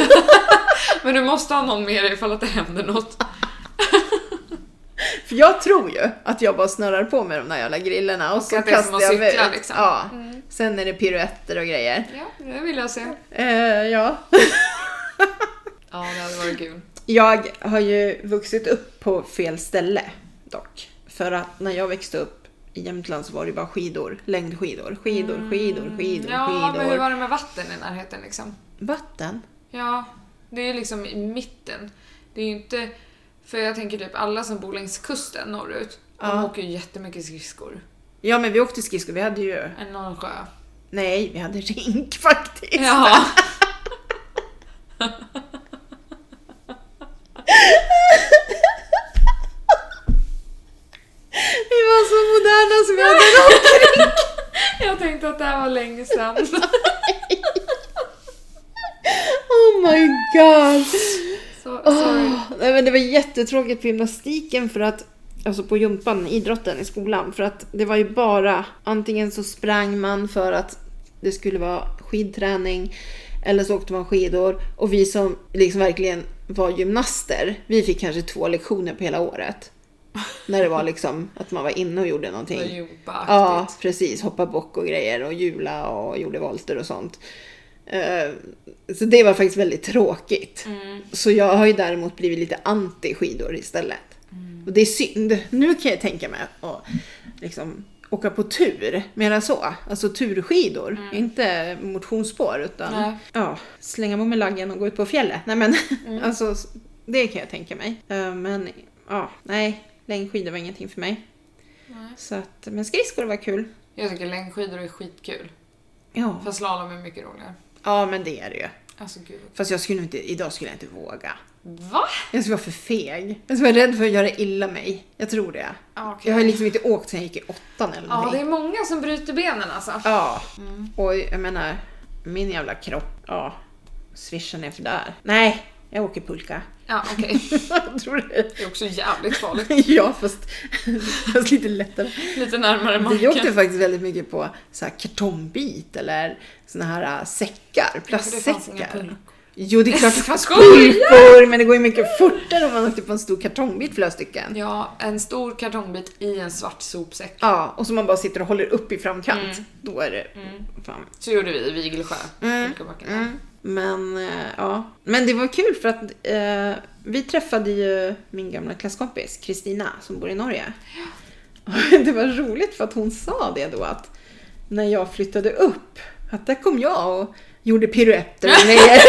[SPEAKER 2] <laughs> Men du måste ha någon med dig ifall att det händer något.
[SPEAKER 1] För jag tror ju att jag bara snurrar på med de där jävla grillorna och, så
[SPEAKER 2] att det är som
[SPEAKER 1] kastar
[SPEAKER 2] att
[SPEAKER 1] jag mig
[SPEAKER 2] cykla,
[SPEAKER 1] ut.
[SPEAKER 2] liksom.
[SPEAKER 1] Ja. Sen är det piruetter och grejer.
[SPEAKER 2] Ja, det vill jag se.
[SPEAKER 1] Eh, ja.
[SPEAKER 2] Ja, det hade varit kul.
[SPEAKER 1] Jag har ju vuxit upp på fel ställe dock. För att när jag växte upp i Jämtland så var det bara skidor, längdskidor, skidor, skidor, skidor,
[SPEAKER 2] Mm, Ja, men hur
[SPEAKER 1] skidor.
[SPEAKER 2] var det med vatten i närheten liksom?
[SPEAKER 1] Vatten?
[SPEAKER 2] Ja, det är ju liksom i mitten. Det är ju inte... För jag tänker typ alla som bor längs kusten norrut, de
[SPEAKER 1] Ja.
[SPEAKER 2] åker ju jättemycket skridskor.
[SPEAKER 1] Ja, men vi åkte skridskor. Vi hade ju...
[SPEAKER 2] En någon sjö.
[SPEAKER 1] Nej, vi hade rink <laughs> faktiskt.
[SPEAKER 2] Ja.
[SPEAKER 1] Vi var så moderna så vi hade en
[SPEAKER 2] Jag tänkte att det här var länge sedan. <laughs>
[SPEAKER 1] Oh my god!
[SPEAKER 2] Så, Oh, sorry.
[SPEAKER 1] Åh, <gasps> nej, men det var jättetråkigt på gymnastiken för att Alltså på gympan, idrotten i skolan. För att det var ju bara antingen så sprang man för att det skulle vara skidträning eller så åkte man skidor. Och vi som liksom verkligen var gymnaster, vi fick kanske två lektioner på hela året. När det var liksom att man var inne och gjorde
[SPEAKER 2] <laughs>
[SPEAKER 1] någonting.
[SPEAKER 2] Det var gympaaktigt.
[SPEAKER 1] Ja, precis. Hoppa bock och grejer och hjula och gjorde volter och sånt. Eh, Så det var faktiskt väldigt tråkigt. Så jag har ju däremot blivit lite anti skidor istället. Och det är synd. Nu kan jag tänka mig att liksom åka på tur, mera så. Alltså turskidor, inte motionsspår utan
[SPEAKER 2] Nej.
[SPEAKER 1] ja, slänga på med laggen och gå ut på fjället. Nej men
[SPEAKER 2] Mm.
[SPEAKER 1] alltså det kan jag tänka mig. Eh, Men ja, nej, längdskidor var ingenting för mig. Så att, men skridskor var kul.
[SPEAKER 2] Jag tycker längdskidor är skitkul.
[SPEAKER 1] Ja.
[SPEAKER 2] Fast slalom är mycket roligare.
[SPEAKER 1] ja, men det är det ju.
[SPEAKER 2] Alltså gud.
[SPEAKER 1] Fast jag skulle inte, idag skulle jag inte våga.
[SPEAKER 2] Va?
[SPEAKER 1] Jag skulle vara för feg. Jag skulle vara rädd för att göra illa mig. Jag tror det.
[SPEAKER 2] Ah,
[SPEAKER 1] Jag har liksom inte åkt sen jag gick i åttan eller
[SPEAKER 2] Ja, det
[SPEAKER 1] någonting.
[SPEAKER 2] är många som bryter benen alltså.
[SPEAKER 1] Ja, och jag menar, min jävla kropp, ja, svischar ner för där. Nej, jag åker pulka. <laughs>
[SPEAKER 2] Ja, okej.
[SPEAKER 1] jag tror det.
[SPEAKER 2] Det är också jävligt farligt.
[SPEAKER 1] ja, fast, fast lite lättare.
[SPEAKER 2] Lite närmare marken.
[SPEAKER 1] Vi åkte faktiskt väldigt mycket på så här kartongbit eller såna här äh, säckar,
[SPEAKER 2] det fanns inga
[SPEAKER 1] plastsäckar.
[SPEAKER 2] pulkor.
[SPEAKER 1] Jo, det är klart det fanns
[SPEAKER 2] Skojar!
[SPEAKER 1] pulkor, men det går ju mycket fortare om man åkte på en stor kartongbit flera stycken.
[SPEAKER 2] Ja, en stor kartongbit i en svart sopsäck.
[SPEAKER 1] Ja, och som man bara sitter och håller upp i framkant.
[SPEAKER 2] Mm.
[SPEAKER 1] Då är det... Fan.
[SPEAKER 2] Så gjorde vi i Vigelsjö.
[SPEAKER 1] Mm.
[SPEAKER 2] Pulkabacken.
[SPEAKER 1] Mm. Men eh, ja, men det var kul för att eh, vi träffade ju min gamla klasskompis Kristina som bor i Norge. <laughs> Och det var roligt för att hon sa det då att när jag flyttade upp, att där kom jag och gjorde piruetter
[SPEAKER 2] <laughs>
[SPEAKER 1] och grejer.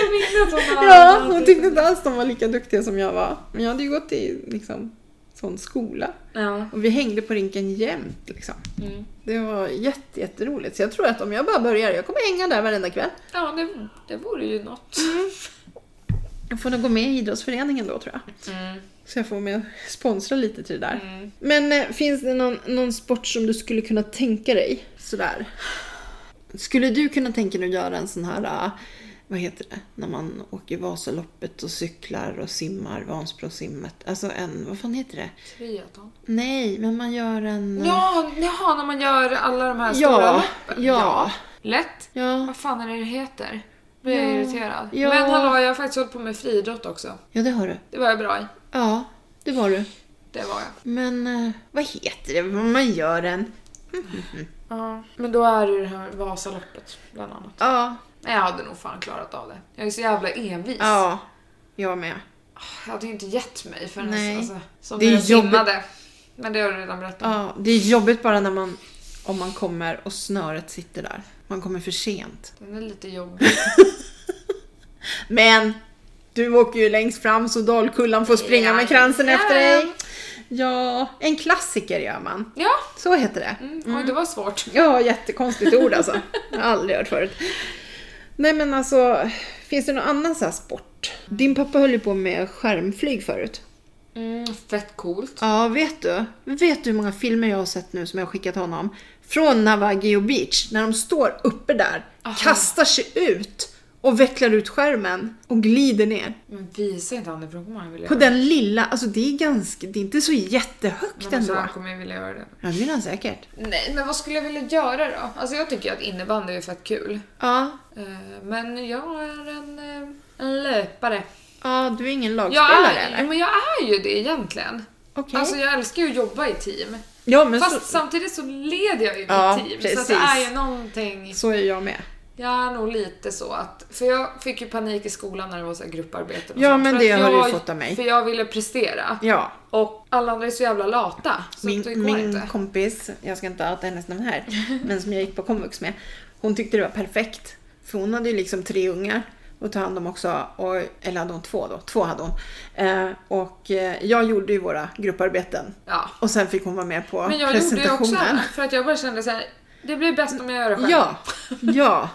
[SPEAKER 2] Jag minns att hon var-
[SPEAKER 1] Ja, hon tyckte inte alls de var lika duktiga som jag var. Men jag hade ju gått i liksom sån skola.
[SPEAKER 2] Ja.
[SPEAKER 1] Och vi hängde på rinken jämt liksom.
[SPEAKER 2] Mm.
[SPEAKER 1] Det var jätte, jätteroligt. Så jag tror att om jag bara börjar, jag kommer hänga där varenda kväll.
[SPEAKER 2] Ja, det, det vore ju något.
[SPEAKER 1] Jag får nog gå med i idrottsföreningen då tror jag.
[SPEAKER 2] Mm.
[SPEAKER 1] Så jag får vara med och sponsra lite till det där.
[SPEAKER 2] Mm.
[SPEAKER 1] Men eh, finns det någon, någon sport som du skulle kunna tänka dig? Sådär. Skulle du kunna tänka dig att göra en sån här, eh, vad heter det, när man åker Vasaloppet och cyklar och simmar, Vansbrosimmet. Alltså en, vad fan heter det?
[SPEAKER 2] Triathlon.
[SPEAKER 1] Nej, men man gör en...
[SPEAKER 2] Ja, jaha, när man gör alla de här stora
[SPEAKER 1] Mm. ja,
[SPEAKER 2] loppen.
[SPEAKER 1] ja,
[SPEAKER 2] Lätt.
[SPEAKER 1] ja.
[SPEAKER 2] Vad fan är det det heter? Nu blir
[SPEAKER 1] Ja.
[SPEAKER 2] jag irriterad.
[SPEAKER 1] Ja.
[SPEAKER 2] Men hallå, jag har faktiskt hållit på med friidrott också.
[SPEAKER 1] Ja, det har du.
[SPEAKER 2] Det var jag bra i.
[SPEAKER 1] Ja, det var du.
[SPEAKER 2] Det var jag.
[SPEAKER 1] Men eh, vad heter det? Vad Man gör en...
[SPEAKER 2] Ja, men då är det ju det här Vasaloppet bland annat.
[SPEAKER 1] Ja,
[SPEAKER 2] Men jag hade nog fan klarat av det. Jag är så jävla envis.
[SPEAKER 1] ja. Jag med.
[SPEAKER 2] Jag hade ju inte gett mig förrän
[SPEAKER 1] Nej.
[SPEAKER 2] Alltså, som
[SPEAKER 1] Det
[SPEAKER 2] det
[SPEAKER 1] är
[SPEAKER 2] är jag
[SPEAKER 1] jobbigt.
[SPEAKER 2] simmade. Men det har du redan berättat om.
[SPEAKER 1] Ja, det är jobbigt bara när man... Om man kommer och snöret sitter där. Man kommer för sent.
[SPEAKER 2] Den är lite jobbig.
[SPEAKER 1] Men du åker ju längst fram så Dalkullan får springa med kransen efter dig. Ja, en klassiker gör man.
[SPEAKER 2] Ja,
[SPEAKER 1] Så heter det.
[SPEAKER 2] mm. oj det var svårt.
[SPEAKER 1] Ja, jättekonstigt ord <laughs> alltså. Jag har aldrig hört förut. Nej men alltså, finns det någon annan så här sport? Din pappa höll ju på med skärmflyg förut.
[SPEAKER 2] Mm, fett coolt.
[SPEAKER 1] Ja, vet du? Vet du hur många filmer jag har sett nu som jag har skickat honom? Från Navajo Beach, när de står uppe där, kastar sig ut och vecklar ut skärmen och glider ner.
[SPEAKER 2] Men visa inte han det för då kommer han vilja
[SPEAKER 1] På
[SPEAKER 2] göra det.
[SPEAKER 1] den lilla, alltså det är ganska, det är inte så jättehögt
[SPEAKER 2] Men alltså,
[SPEAKER 1] ändå.
[SPEAKER 2] han kommer vilja göra det.
[SPEAKER 1] Ja, det vill han säkert.
[SPEAKER 2] Nej, men vad skulle jag vilja göra då? Alltså jag tycker att innebandy är fett kul.
[SPEAKER 1] Ja,
[SPEAKER 2] Eh, Men jag är en, eh, en löpare.
[SPEAKER 1] ja du är ingen
[SPEAKER 2] Jag
[SPEAKER 1] lagspelare
[SPEAKER 2] är,
[SPEAKER 1] eller?
[SPEAKER 2] men jag är ju det egentligen.
[SPEAKER 1] Okej.
[SPEAKER 2] Alltså jag älskar ju att jobba i team.
[SPEAKER 1] ja, men
[SPEAKER 2] Fast
[SPEAKER 1] så,
[SPEAKER 2] samtidigt så leder jag ju mitt
[SPEAKER 1] Ja,
[SPEAKER 2] team. Så att det
[SPEAKER 1] precis.
[SPEAKER 2] är ju någonting.
[SPEAKER 1] så är jag med.
[SPEAKER 2] Jag är nog lite så att... För jag fick ju panik i skolan när det var så här grupparbeten och
[SPEAKER 1] Ja,
[SPEAKER 2] sånt,
[SPEAKER 1] men
[SPEAKER 2] för
[SPEAKER 1] det
[SPEAKER 2] att
[SPEAKER 1] har du
[SPEAKER 2] jag-
[SPEAKER 1] ju fått av mig.
[SPEAKER 2] För jag ville prestera.
[SPEAKER 1] Ja,
[SPEAKER 2] Och alla andra är så jävla lata. Så
[SPEAKER 1] min,
[SPEAKER 2] det går
[SPEAKER 1] min
[SPEAKER 2] inte.
[SPEAKER 1] kompis, jag ska inte outa hennes namn
[SPEAKER 2] <laughs>
[SPEAKER 1] här, men som jag gick på komvux med, hon tyckte det var perfekt. För hon hade ju liksom tre ungar att ta hand om också, och, eller hade hon två då? Två hade hon. Eh, och eh, jag gjorde ju våra grupparbeten.
[SPEAKER 2] Ja.
[SPEAKER 1] Och sen fick hon vara med på
[SPEAKER 2] Men jag gjorde ju också
[SPEAKER 1] presentationen.
[SPEAKER 2] för att jag bara kände så här. Det blir bäst om jag gör det själv.
[SPEAKER 1] Ja, ja.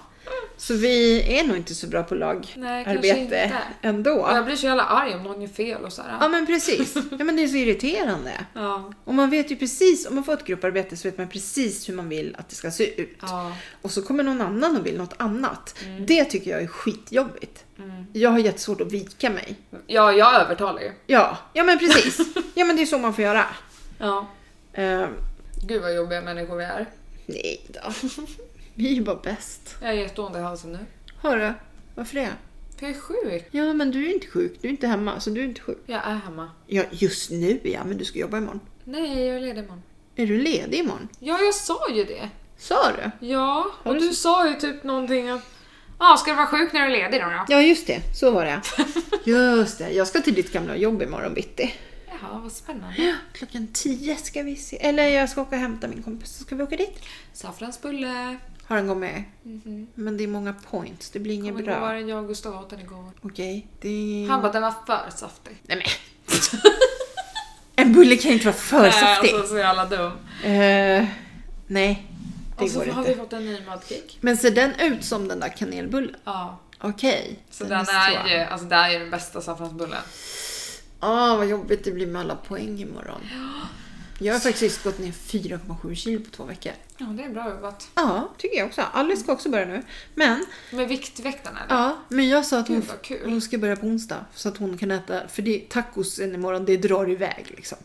[SPEAKER 1] Så vi är nog inte så bra på
[SPEAKER 2] Nej, kanske
[SPEAKER 1] lagarbete
[SPEAKER 2] inte.
[SPEAKER 1] ändå.
[SPEAKER 2] Och jag blir så jävla arg om någon gör fel och så här.
[SPEAKER 1] Ja men precis. Ja, men det är så irriterande.
[SPEAKER 2] Ja.
[SPEAKER 1] Och man vet ju precis, om man får ett grupparbete så vet man precis hur man vill att det ska se ut.
[SPEAKER 2] Ja.
[SPEAKER 1] Och så kommer någon annan och vill något annat. Det tycker jag är skitjobbigt. Jag har jättesvårt att vika mig.
[SPEAKER 2] ja, jag övertalar ju.
[SPEAKER 1] Ja, ja men precis. <laughs> ja men det är så man får göra.
[SPEAKER 2] Ja.
[SPEAKER 1] Ehm,
[SPEAKER 2] Gud vad jobbiga människor vi är.
[SPEAKER 1] nej då. Vi är ju bara bäst.
[SPEAKER 2] Jag har jätteont i halsen nu.
[SPEAKER 1] Hörru, varför det?
[SPEAKER 2] För jag är sjuk.
[SPEAKER 1] Ja men du är ju inte sjuk, du är inte hemma, så du är inte sjuk.
[SPEAKER 2] Jag är hemma.
[SPEAKER 1] Ja, just nu ja, men du ska jobba imorgon.
[SPEAKER 2] Nej, jag är ledig imorgon.
[SPEAKER 1] Är du ledig imorgon?
[SPEAKER 2] Ja, jag sa ju det.
[SPEAKER 1] Sa du?
[SPEAKER 2] Ja, och
[SPEAKER 1] du
[SPEAKER 2] du sa ju typ någonting att... Ja, ska du vara sjuk när du är ledig då? <laughs> då?
[SPEAKER 1] Ja, just det. Så var det. Just det. Jag ska till ditt gamla jobb imorgon bitti.
[SPEAKER 2] Jaha, vad spännande.
[SPEAKER 1] Klockan tio ska vi se. Eller jag ska åka och hämta min kompis så ska vi åka dit.
[SPEAKER 2] Saffransbulle.
[SPEAKER 1] Har den gått med?
[SPEAKER 2] Mhm.
[SPEAKER 1] Men det är många points. Det blir inget
[SPEAKER 2] Kommer
[SPEAKER 1] bra. Mm.
[SPEAKER 2] ihåg vad jag och Gustav åt den igår?
[SPEAKER 1] Okej. Det...
[SPEAKER 2] Han bara, den var för saftig.
[SPEAKER 1] Nej men. <laughs> en bulle kan inte vara för
[SPEAKER 2] Nej,
[SPEAKER 1] saftig.
[SPEAKER 2] alltså så jävla dum.
[SPEAKER 1] Eh, nej. Det
[SPEAKER 2] Och så
[SPEAKER 1] går
[SPEAKER 2] Alltså, har
[SPEAKER 1] inte.
[SPEAKER 2] vi fått en ny mudcake.
[SPEAKER 1] Men ser den ut som den där kanelbullen?
[SPEAKER 2] Ja.
[SPEAKER 1] Okej.
[SPEAKER 2] Så den
[SPEAKER 1] så.
[SPEAKER 2] är ju, alltså det är ju den bästa saffransbullen.
[SPEAKER 1] Åh, Ah, vad jobbigt det blir med alla poäng
[SPEAKER 2] <gasps>
[SPEAKER 1] imorgon. Jag har faktiskt gått ner 4,7 kilo på två veckor.
[SPEAKER 2] Ja, det är bra jobbat.
[SPEAKER 1] Ja, tycker jag också. Alice ska också börja nu. Men,
[SPEAKER 2] Med Viktväktarna eller?
[SPEAKER 1] ja, men jag sa att hon,
[SPEAKER 2] Gud, vad kul.
[SPEAKER 1] hon ska börja på onsdag. Så att hon kan äta, för det, tacosen imorgon, det drar iväg liksom.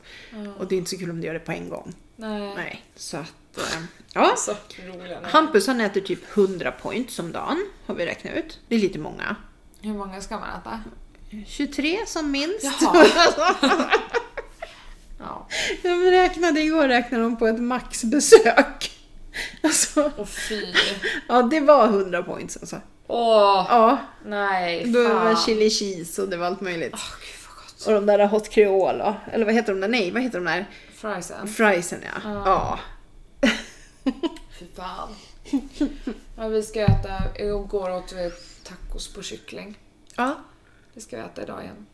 [SPEAKER 1] Och det är inte så kul om du gör det på en gång.
[SPEAKER 2] Nej.
[SPEAKER 1] Nej, så att... eh, Ja.
[SPEAKER 2] Alltså, roliga nu.
[SPEAKER 1] Hampus han äter typ 100 points om dagen, har vi räknat ut. Det är lite många.
[SPEAKER 2] Hur många ska man äta?
[SPEAKER 1] 23 som minst. <laughs> Alltså,
[SPEAKER 2] Ja.
[SPEAKER 1] Jag räknade igår räknade de på ett maxbesök. <laughs> Alltså,
[SPEAKER 2] Åh fy.
[SPEAKER 1] ja det var 100 points alltså.
[SPEAKER 2] Åh,
[SPEAKER 1] Ja,
[SPEAKER 2] nej.
[SPEAKER 1] då var det
[SPEAKER 2] fan.
[SPEAKER 1] chili cheese och det var allt möjligt.
[SPEAKER 2] Åh, gud vad gott.
[SPEAKER 1] Och de där hot creole, ja. eller vad heter de där? Nej, vad heter de där?
[SPEAKER 2] Friesen.
[SPEAKER 1] Friesen ja. Ja.
[SPEAKER 2] Fy fan. <laughs> Ja, vi ska äta, igår åt vi tacos på kyckling.
[SPEAKER 1] ja.
[SPEAKER 2] Det ska vi äta idag igen.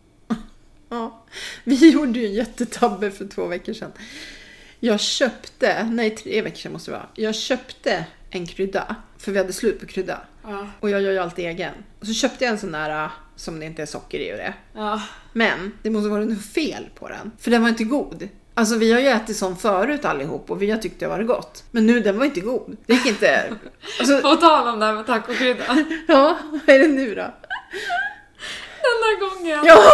[SPEAKER 1] ja. Vi <laughs> gjorde ju en jättetabbe för två veckor sedan. Jag köpte, nej tre veckor sedan måste det vara, jag köpte en krydda. För vi hade slut på krydda.
[SPEAKER 2] Ja.
[SPEAKER 1] Och jag gör ju alltid egen. Och så köpte jag en sån där äh, som det inte är socker i och det.
[SPEAKER 2] Ja.
[SPEAKER 1] Men det måste vara något fel på den. För den var inte god. Alltså vi har ju ätit sån förut allihop och vi har tyckt det var gott. Men nu, den var inte god. Det gick inte. Alltså,
[SPEAKER 2] På tal om det här med tacokrydda.
[SPEAKER 1] ja, vad är det nu då?
[SPEAKER 2] Den där gången.
[SPEAKER 1] Ja!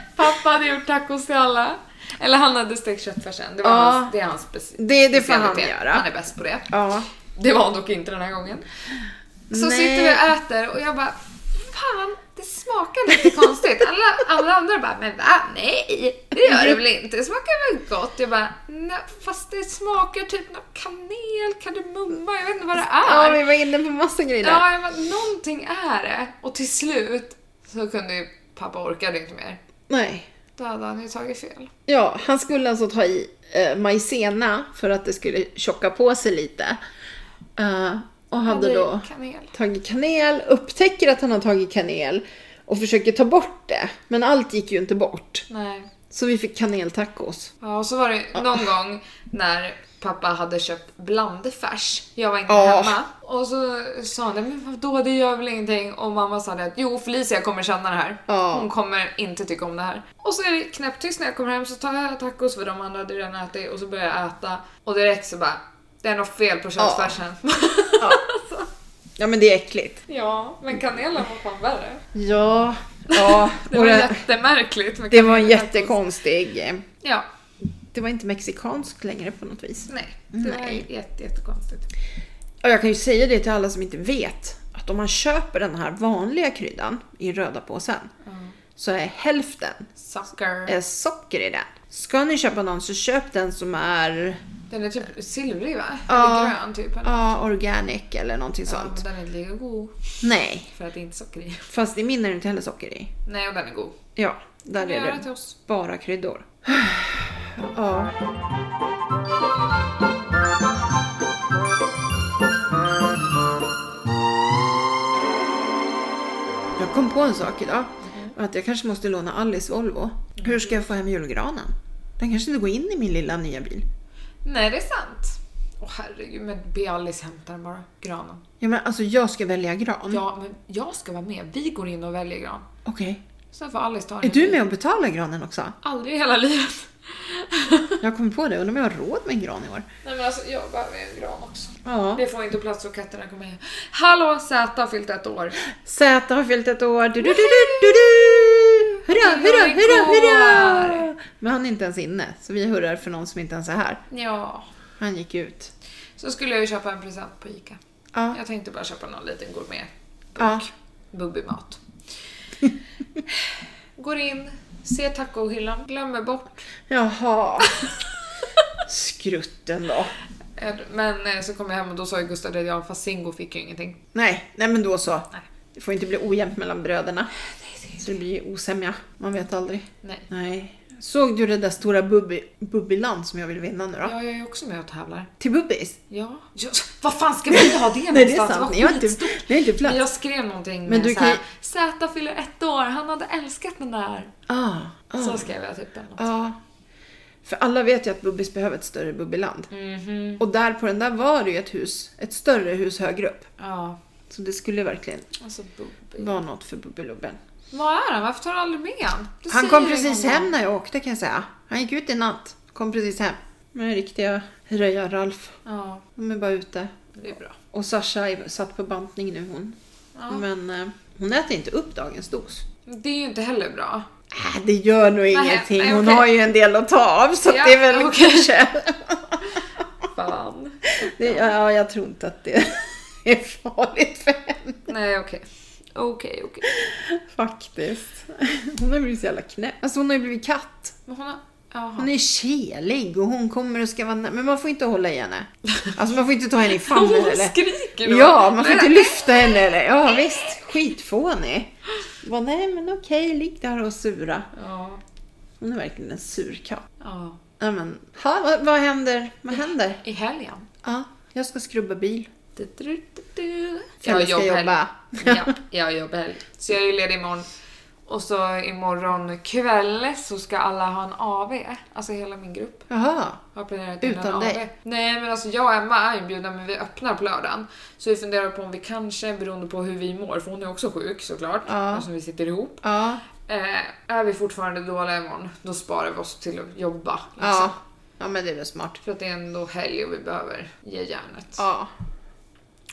[SPEAKER 2] <laughs> Pappa hade gjort tacos till alla. Eller han hade stekt köttfärsen. Det, var
[SPEAKER 1] Ja.
[SPEAKER 2] hans, det är hans speci-
[SPEAKER 1] Det- det får han
[SPEAKER 2] specialitet.
[SPEAKER 1] göra.
[SPEAKER 2] Han är bäst på det.
[SPEAKER 1] Ja.
[SPEAKER 2] Det var han dock inte den här gången. Så
[SPEAKER 1] Nej.
[SPEAKER 2] sitter vi och äter och jag bara Fan, det smakar lite konstigt. Alla, alla andra bara, men va? Nej, det gör det väl inte? Det smakar väl gott? Jag bara, nej, fast det smakar typ någon kanel, kardemumma, jag vet inte vad det
[SPEAKER 1] ja,
[SPEAKER 2] är.
[SPEAKER 1] vi var inne på massa grejer där.
[SPEAKER 2] Ja, jag bara, någonting är det. Och till slut så kunde ju pappa orkade inte mer.
[SPEAKER 1] Nej.
[SPEAKER 2] Då hade han ju tagit fel.
[SPEAKER 1] Ja, han skulle alltså ta i eh, majsena för att det skulle tjocka på sig lite. Eh, och hade
[SPEAKER 2] Det är
[SPEAKER 1] då
[SPEAKER 2] Kanel.
[SPEAKER 1] tagit kanel, upptäcker att han har tagit kanel och försöker ta bort det. Men allt gick ju inte bort.
[SPEAKER 2] Nej.
[SPEAKER 1] Så vi fick kaneltacos.
[SPEAKER 2] Ja, och så var det någon gång när pappa hade köpt blandfärs. Jag var inte
[SPEAKER 1] Ja.
[SPEAKER 2] hemma. Och så sa han det, men vadå det gör väl ingenting? Och mamma sa det att jo Felicia kommer känna det här.
[SPEAKER 1] Ja.
[SPEAKER 2] Hon kommer inte tycka om det här. Och så är det knäpptyst när jag kommer hem så tar jag tacos för de andra hade redan ätit och så börjar jag äta. Och direkt så bara, det är något fel på köttfärsen. <laughs> Ja,
[SPEAKER 1] Ja men det är äckligt.
[SPEAKER 2] men kanelen var fan värre.
[SPEAKER 1] Ja, <laughs> ja.
[SPEAKER 2] Det
[SPEAKER 1] och
[SPEAKER 2] var
[SPEAKER 1] det,
[SPEAKER 2] jättemärkligt. med
[SPEAKER 1] det var en
[SPEAKER 2] kanel i tacos.
[SPEAKER 1] jättekonstig... eh,
[SPEAKER 2] Ja,
[SPEAKER 1] Det var inte mexikanskt längre på något vis.
[SPEAKER 2] nej. Det var
[SPEAKER 1] Nej.
[SPEAKER 2] jätte, jättekonstigt.
[SPEAKER 1] Och jag kan ju säga det till alla som inte vet att om man köper den här vanliga kryddan i röda påsen så är hälften
[SPEAKER 2] Sucker.
[SPEAKER 1] är eh, socker i den. Ska ni köpa någon så köp den som är
[SPEAKER 2] Den är typ silvrig va?
[SPEAKER 1] Ja.
[SPEAKER 2] Eller grön typ. Eller?
[SPEAKER 1] ja, organic eller någonting
[SPEAKER 2] Ja,
[SPEAKER 1] sånt.
[SPEAKER 2] men den är inte lika god.
[SPEAKER 1] Nej,
[SPEAKER 2] För att det är inte socker i.
[SPEAKER 1] fast i min är det inte heller socker i.
[SPEAKER 2] Nej, och den är god.
[SPEAKER 1] Ja, där
[SPEAKER 2] Kan
[SPEAKER 1] är
[SPEAKER 2] göra till
[SPEAKER 1] det
[SPEAKER 2] oss.
[SPEAKER 1] bara kryddor. <sighs> Ja. Jag kom på en sak idag. Att jag kanske måste låna Alice Volvo. Hur ska jag få hem julgranen? Den kanske inte går in i min lilla nya bil.
[SPEAKER 2] Nej, det är sant. Åh herregud, men be Alice hämta den bara. Granen.
[SPEAKER 1] Ja, men alltså jag ska välja gran.
[SPEAKER 2] Ja, men jag ska vara med. Vi går in och väljer gran.
[SPEAKER 1] Okej.
[SPEAKER 2] Sen får Alice ta
[SPEAKER 1] Är
[SPEAKER 2] den.
[SPEAKER 1] du med och betalar granen också?
[SPEAKER 2] Aldrig i hela livet. <laughs>
[SPEAKER 1] Jag kom på det. Undrar om jag har råd med en gran i år?
[SPEAKER 2] Nej men alltså, jag behöver en gran också.
[SPEAKER 1] Ja.
[SPEAKER 2] Det får inte plats så katterna kommer hem. Hallå, Z har fyllt ett år.
[SPEAKER 1] Z har fyllt ett år. Du, du, du, du, du, du. Hurra, hurra, hurra, hurra! Men han är inte ens inne, så vi hurrar för någon som inte ens är här.
[SPEAKER 2] Ja.
[SPEAKER 1] Han gick ut.
[SPEAKER 2] Så skulle jag ju köpa en present på ICA.
[SPEAKER 1] Ja.
[SPEAKER 2] Jag tänkte bara köpa någon liten gourmet.
[SPEAKER 1] Ja.
[SPEAKER 2] Bubbimat.
[SPEAKER 1] <laughs>
[SPEAKER 2] Går in, ser tacohyllan, glömmer bort.
[SPEAKER 1] <laughs> Jaha. Skrutten då.
[SPEAKER 2] Men eh, så kom jag hem och då sa ju Gustav det, ja fast Singo fick ju ingenting.
[SPEAKER 1] Nej, nej men då så.
[SPEAKER 2] Nej.
[SPEAKER 1] Det får inte bli ojämnt mellan bröderna. Så det blir ju osämja. Man vet aldrig.
[SPEAKER 2] Nej.
[SPEAKER 1] Nej. Såg du det där stora bubbi, bubbiland som jag vill vinna nu då?
[SPEAKER 2] Ja, jag är ju också med och tävlar.
[SPEAKER 1] Till bubbis?
[SPEAKER 2] Ja. ja. Vad fan ska vi ha det
[SPEAKER 1] Nej det är
[SPEAKER 2] någonstans?
[SPEAKER 1] sant,
[SPEAKER 2] Vad
[SPEAKER 1] ni har inte,
[SPEAKER 2] skitstort.
[SPEAKER 1] ni har inte plats.
[SPEAKER 2] Men jag skrev någonting
[SPEAKER 1] Men
[SPEAKER 2] med
[SPEAKER 1] du
[SPEAKER 2] så här,
[SPEAKER 1] kan
[SPEAKER 2] Zäta fyller ett år, han hade älskat den där.
[SPEAKER 1] Ah, ah,
[SPEAKER 2] Så skrev jag typ. eller något.
[SPEAKER 1] ah. För alla vet ju att bubbis behöver ett större bubbiland.
[SPEAKER 2] Mhm.
[SPEAKER 1] Och där på den där var det ju ett hus, ett större hus högre upp.
[SPEAKER 2] Ja.
[SPEAKER 1] Så det skulle verkligen
[SPEAKER 2] Alltså Bubbi.
[SPEAKER 1] vara något för bubbelubben.
[SPEAKER 2] Vad är han? Varför tar du aldrig med han? Du
[SPEAKER 1] Han
[SPEAKER 2] säger
[SPEAKER 1] kom
[SPEAKER 2] ju
[SPEAKER 1] precis
[SPEAKER 2] honom.
[SPEAKER 1] hem när jag åkte kan jag säga. Han gick ut i natt, kom precis hem. Med riktiga röjar-Ralf.
[SPEAKER 2] Ja,
[SPEAKER 1] De är bara ute.
[SPEAKER 2] det är bra.
[SPEAKER 1] Och Sasha är satt på bantning nu hon.
[SPEAKER 2] Ja.
[SPEAKER 1] Men eh, hon äter inte upp dagens dos.
[SPEAKER 2] Det är ju inte heller bra.
[SPEAKER 1] Äh, det gör nog ingenting.
[SPEAKER 2] nej,
[SPEAKER 1] Hon
[SPEAKER 2] okej.
[SPEAKER 1] har ju en del att ta av så att
[SPEAKER 2] Ja,
[SPEAKER 1] det är väl
[SPEAKER 2] okej.
[SPEAKER 1] kanske...
[SPEAKER 2] Fan.
[SPEAKER 1] Det, ja, jag tror inte att det <laughs> är farligt för henne
[SPEAKER 2] Nej, okej. Okej, okej.
[SPEAKER 1] faktiskt. Hon har blivit så jävla knäpp. Alltså hon har ju blivit katt.
[SPEAKER 2] Men hon har... Jaha.
[SPEAKER 1] Hon
[SPEAKER 2] <laughs>
[SPEAKER 1] är kelig och hon kommer och ska vara nä- Men man får inte hålla i henne. Alltså man får inte ta henne i <laughs> famnen
[SPEAKER 2] Hon
[SPEAKER 1] eller...
[SPEAKER 2] skriker då.
[SPEAKER 1] Ja, man får
[SPEAKER 2] Nej,
[SPEAKER 1] inte lyfta henne eller... Ja visst, skitfånig. Bara, nej men okej, ligg där och sura.
[SPEAKER 2] Ja.
[SPEAKER 1] Hon är verkligen en sur katt.
[SPEAKER 2] ja.
[SPEAKER 1] Ja men, ha, vad, vad händer? Vad händer?
[SPEAKER 2] I helgen.
[SPEAKER 1] Ja, jag ska skrubba bil.
[SPEAKER 2] Du, du, du, du.
[SPEAKER 1] Eller ska jobba.
[SPEAKER 2] Ja, jag jobbar helg. Så jag är ju ledig imorgon. Och så imorgon kväll så ska alla ha en AV. Alltså hela min grupp
[SPEAKER 1] Jaha.
[SPEAKER 2] har planerat in
[SPEAKER 1] Utan
[SPEAKER 2] en
[SPEAKER 1] dig?
[SPEAKER 2] AV. Nej men alltså jag och Emma är inbjudna men vi öppnar på lördagen. Så vi funderar på om vi kanske, beroende på hur vi mår, för hon är också sjuk såklart,
[SPEAKER 1] Ja.
[SPEAKER 2] eftersom vi sitter ihop.
[SPEAKER 1] Ja.
[SPEAKER 2] Eh, är vi fortfarande dåliga imorgon, då sparar vi oss till att jobba. Liksom.
[SPEAKER 1] Ja. ja, men det är väl smart.
[SPEAKER 2] För att det är ändå helg och vi behöver ge järnet.
[SPEAKER 1] Ja.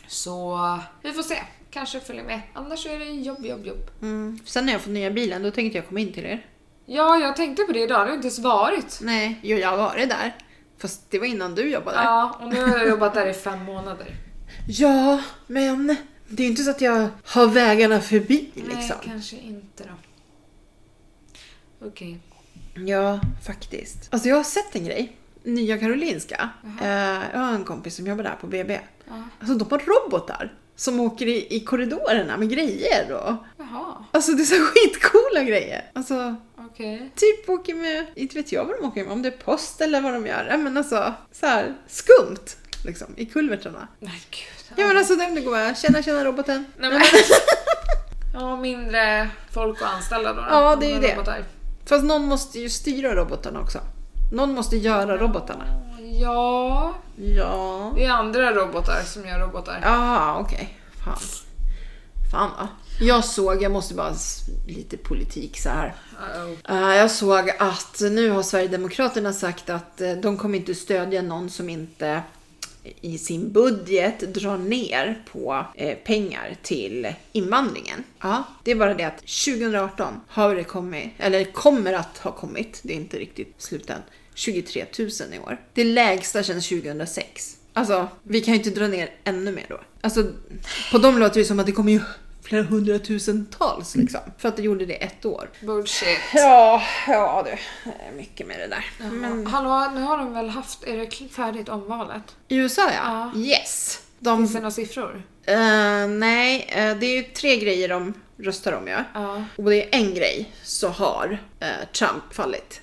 [SPEAKER 2] Så vi får se. Kanske följer med. Annars är det jobb, jobb, jobb.
[SPEAKER 1] Mm. Sen när jag får nya bilen, då tänkte jag komma in till er.
[SPEAKER 2] Ja, jag tänkte på det idag. Det har inte ens varit.
[SPEAKER 1] Nej, jo, jag har varit där. Fast det var innan du jobbade. Ja,
[SPEAKER 2] Ja, och nu har jag jobbat där i fem månader.
[SPEAKER 1] ja men det är ju inte så att jag har vägarna förbi
[SPEAKER 2] Nej,
[SPEAKER 1] liksom.
[SPEAKER 2] kanske inte då. Okej.
[SPEAKER 1] Ja, faktiskt. Alltså jag har sett en grej. Nya Karolinska. Eh, jag har en kompis som jobbar där på BB.
[SPEAKER 2] Ja.
[SPEAKER 1] Alltså de har robotar som åker i, i korridorerna med grejer och...
[SPEAKER 2] Jaha,
[SPEAKER 1] Alltså det är så skitcoola grejer. Alltså
[SPEAKER 2] okej.
[SPEAKER 1] typ åker med, inte vet jag vad de åker med, om det är post eller vad de gör. Ja, Men alltså, så här, skumt. liksom, i kulvertarna.
[SPEAKER 2] Nej gud.
[SPEAKER 1] Ja men alltså den goa, tjena tjena roboten.
[SPEAKER 2] Nej, men, ja, mindre folk och anställda då. då.
[SPEAKER 1] Ja, det är ju
[SPEAKER 2] Några
[SPEAKER 1] det.
[SPEAKER 2] robotar.
[SPEAKER 1] Fast någon måste ju styra robotarna också. Någon måste göra robotarna.
[SPEAKER 2] Ja,
[SPEAKER 1] Ja.
[SPEAKER 2] det är andra robotar som gör robotar.
[SPEAKER 1] Ja, ah, okej. Fan. Fan va. Jag såg, jag måste bara s- lite politik så här.
[SPEAKER 2] Uh-oh.
[SPEAKER 1] Eh, Jag såg att nu har Sverigedemokraterna sagt att eh, de kommer inte stödja någon som inte i sin budget drar ner på eh, pengar till invandringen. Ja, det är bara det att 2018 har det kommit, eller kommer att ha kommit, det är inte riktigt slut än, 23 000 i år. Det lägsta sedan 2006. Alltså, vi kan ju inte dra ner ännu mer då. Alltså, på dem låter det som att det kommer ju flera hundratusentals liksom. För att det gjorde det ett år.
[SPEAKER 2] Bullshit.
[SPEAKER 1] Ja, ja du. Det är mycket med det där.
[SPEAKER 2] Men... Hallå, nu har de väl haft, är det kl- färdigt omvalet?
[SPEAKER 1] I USA ja. Yes. De,
[SPEAKER 2] Finns det några siffror?
[SPEAKER 1] Eh, nej, eh, det är ju tre grejer de röstar om ja.
[SPEAKER 2] Ja.
[SPEAKER 1] Och det är en grej så har eh, Trump fallit.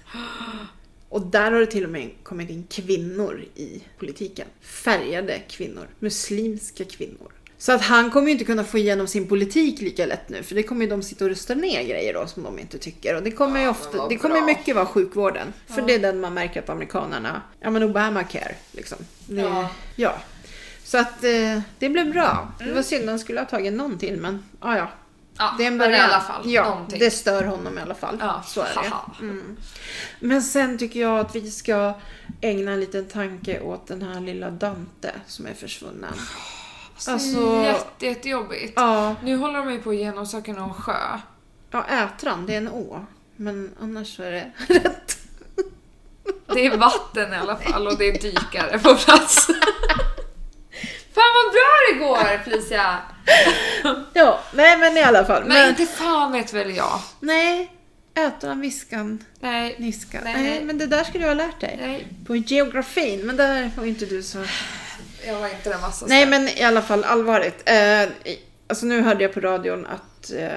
[SPEAKER 1] Och där har det till och med kommit in kvinnor i politiken. Färgade kvinnor. Muslimska kvinnor. Så att han kommer ju inte kunna få igenom sin politik lika lätt nu för det kommer ju de sitta och rösta ner grejer då som de inte tycker. Och det kommer ju
[SPEAKER 2] Ja, men
[SPEAKER 1] ofta,
[SPEAKER 2] vad
[SPEAKER 1] det kommer ju
[SPEAKER 2] bra.
[SPEAKER 1] mycket vara sjukvården. För det är den man märker att amerikanerna, ja men Obamacare liksom. Det, ja.
[SPEAKER 2] Ja.
[SPEAKER 1] Så att eh, det blev bra. Det
[SPEAKER 2] Mm.
[SPEAKER 1] var synd, han skulle ha tagit någon till men ah, ja.
[SPEAKER 2] Ja,
[SPEAKER 1] Det är en
[SPEAKER 2] men
[SPEAKER 1] början.
[SPEAKER 2] i alla fall.
[SPEAKER 1] Ja,
[SPEAKER 2] någonting.
[SPEAKER 1] det stör honom i alla fall.
[SPEAKER 2] Ja,
[SPEAKER 1] Så är
[SPEAKER 2] haha.
[SPEAKER 1] det. Mm. Men sen tycker jag att vi ska ägna en liten tanke åt den här lilla Dante som är försvunnen. Alltså-
[SPEAKER 2] Jätte, jättejobbigt.
[SPEAKER 1] Ja,
[SPEAKER 2] Nu håller de ju på att genomsöka någon sjö.
[SPEAKER 1] ja Ätran, det är en å. Men annars så är det <laughs> rätt.
[SPEAKER 2] Det är vatten i alla fall och det är dykare på plats. Fan vad bra det går Felicia!
[SPEAKER 1] Ja, nej men i alla fall.
[SPEAKER 2] Men
[SPEAKER 1] Men,
[SPEAKER 2] inte fan vet väl jag.
[SPEAKER 1] nej, Ätran, Viskan,
[SPEAKER 2] Nej,
[SPEAKER 1] Niskan. Nej,
[SPEAKER 2] Nej, nej.
[SPEAKER 1] men det där skulle du ha lärt dig.
[SPEAKER 2] nej.
[SPEAKER 1] På geografin, men där var ju inte du så...
[SPEAKER 2] Jag var inte den vassaste.
[SPEAKER 1] Nej men i alla fall allvarligt. Eh, i- alltså nu hörde jag på radion att eh,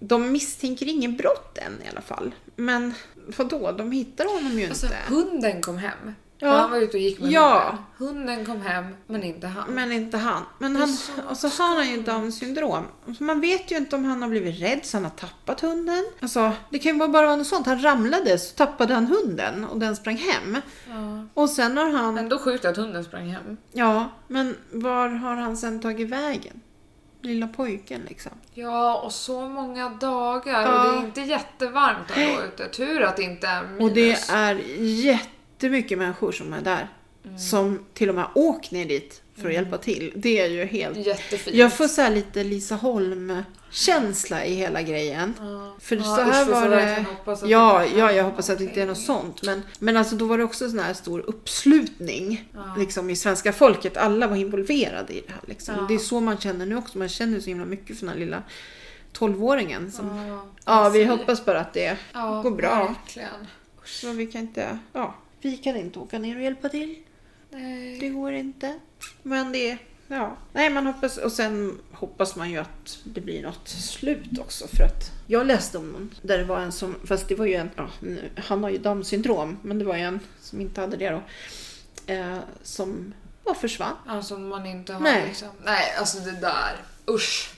[SPEAKER 1] de misstänker inget brott än i alla fall. Men vadå, de hittar honom ju
[SPEAKER 2] Alltså,
[SPEAKER 1] inte.
[SPEAKER 2] hunden kom hem.
[SPEAKER 1] Ja.
[SPEAKER 2] Ja. Han var ute och gick med
[SPEAKER 1] Ja.
[SPEAKER 2] hunden. Hunden kom hem, men inte han.
[SPEAKER 1] Men inte han. Men
[SPEAKER 2] Det är
[SPEAKER 1] han,
[SPEAKER 2] så
[SPEAKER 1] och så har han ju down syndrom. Så man vet ju inte om han har blivit rädd så han har tappat hunden. Alltså, det kan ju bara vara något sånt. Han ramlade så tappade han hunden och den sprang hem.
[SPEAKER 2] Ja.
[SPEAKER 1] Och sen har han...
[SPEAKER 2] Ändå sjukt att hunden sprang hem.
[SPEAKER 1] Ja, men var har han sen tagit vägen? Lilla pojken liksom.
[SPEAKER 2] Ja, och så många dagar
[SPEAKER 1] Ja.
[SPEAKER 2] och det är inte jättevarmt ändå ute. Tur att det inte är minus.
[SPEAKER 1] Och det är jättemycket människor som är där.
[SPEAKER 2] Mm.
[SPEAKER 1] Som till och med åkt ner dit för att hjälpa till. Det är ju helt...
[SPEAKER 2] jättefint.
[SPEAKER 1] Jag får så här lite Lisa Holm-känsla i hela grejen.
[SPEAKER 2] Ja.
[SPEAKER 1] För
[SPEAKER 2] Ja,
[SPEAKER 1] så här
[SPEAKER 2] usch, vi får
[SPEAKER 1] var det...
[SPEAKER 2] verkligen hoppas att
[SPEAKER 1] Ja,
[SPEAKER 2] det inte
[SPEAKER 1] ja,
[SPEAKER 2] är
[SPEAKER 1] jag hoppas att det inte är något
[SPEAKER 2] någonting.
[SPEAKER 1] sånt. Men, men alltså då var det också sån här stor uppslutning
[SPEAKER 2] Ja.
[SPEAKER 1] liksom, i svenska folket. Alla var involverade i det här. Liksom.
[SPEAKER 2] Ja.
[SPEAKER 1] Det är så man känner nu också. Man känner så himla mycket för den här lilla 12-åringen. Som... Liksom. Ja,
[SPEAKER 2] Ja, Alltså,
[SPEAKER 1] vi
[SPEAKER 2] precis.
[SPEAKER 1] hoppas bara att det
[SPEAKER 2] Ja,
[SPEAKER 1] går bra.
[SPEAKER 2] Verkligen.
[SPEAKER 1] Så vi kan inte, ja, vi kan inte åka ner och hjälpa till.
[SPEAKER 2] Nej.
[SPEAKER 1] Det går inte. Men det, ja. Nej, man hoppas, och sen hoppas man ju att det blir något slut också för att jag läste om någon där det var en som, fast det var ju en, ja, nu- han har ju Downs syndrom, men det var ju en som inte hade det då. Eh, som bara försvann.
[SPEAKER 2] Alltså om man inte har
[SPEAKER 1] Nej.
[SPEAKER 2] Nej. liksom... Nej, alltså det där. Usch.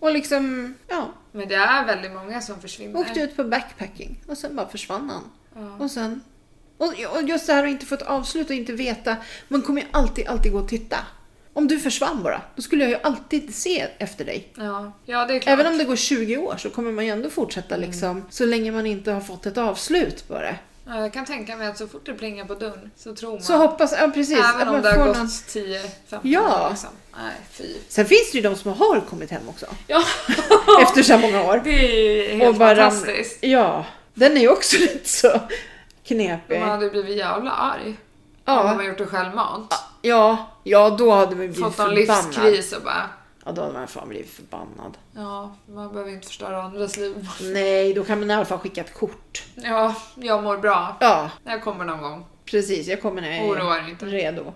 [SPEAKER 1] Och liksom, ja,
[SPEAKER 2] Men det är väldigt många som försvinner.
[SPEAKER 1] åkte ut på backpacking och sen bara försvann han.
[SPEAKER 2] Ja.
[SPEAKER 1] Och sen... Och, och just det här att inte få ett avslut och inte veta. Man kommer ju alltid, alltid gå och titta. Om du försvann bara, då skulle jag ju alltid se efter dig.
[SPEAKER 2] Ja. ja, det är klart.
[SPEAKER 1] Även om det går 20 år så kommer man ju ändå fortsätta
[SPEAKER 2] Mm.
[SPEAKER 1] liksom. Så länge man inte har fått ett avslut på det.
[SPEAKER 2] Ja, jag kan tänka mig att så fort det plingar på dörren så tror man.
[SPEAKER 1] Så hoppas, ja precis.
[SPEAKER 2] Även
[SPEAKER 1] att
[SPEAKER 2] om
[SPEAKER 1] man
[SPEAKER 2] det har
[SPEAKER 1] får
[SPEAKER 2] gått
[SPEAKER 1] någon-
[SPEAKER 2] 10-15
[SPEAKER 1] Ja.
[SPEAKER 2] år liksom. Nej, fy.
[SPEAKER 1] Sen finns det ju de som har kommit hem också.
[SPEAKER 2] Ja,
[SPEAKER 1] Efter så här många år.
[SPEAKER 2] <laughs> det är helt
[SPEAKER 1] ram-
[SPEAKER 2] fantastiskt.
[SPEAKER 1] Ja. Den är ju också <laughs> lite så knepig.
[SPEAKER 2] Man hade blivit jävla arg. Om man
[SPEAKER 1] Ja,
[SPEAKER 2] har gjort det självmant.
[SPEAKER 1] ja, ja, då hade man ju blivit
[SPEAKER 2] Fått någon
[SPEAKER 1] förbannad.
[SPEAKER 2] livskris och bara...
[SPEAKER 1] Ja, då hade man fan blivit förbannad.
[SPEAKER 2] Ja, man behöver inte förstöra andras liv.
[SPEAKER 1] Nej, då kan man i alla fall skicka ett kort.
[SPEAKER 2] Ja, jag mår bra.
[SPEAKER 1] Ja,
[SPEAKER 2] Jag kommer någon gång.
[SPEAKER 1] precis. Jag kommer när jag
[SPEAKER 2] Oroa
[SPEAKER 1] är
[SPEAKER 2] er inte.
[SPEAKER 1] redo.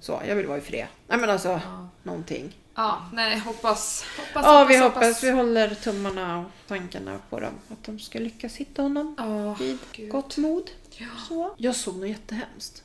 [SPEAKER 1] Så, jag vill vara i fred. Nej men alltså,
[SPEAKER 2] Ja.
[SPEAKER 1] någonting.
[SPEAKER 2] Ja, nej, hoppas. Hoppas,
[SPEAKER 1] Ja, vi hoppas. Vi håller tummarna och tankarna på dem. Att de ska lyckas hitta honom
[SPEAKER 2] Ja,
[SPEAKER 1] vid
[SPEAKER 2] gud.
[SPEAKER 1] gott mod.
[SPEAKER 2] Ja.
[SPEAKER 1] Så. Jag såg något jättehemskt.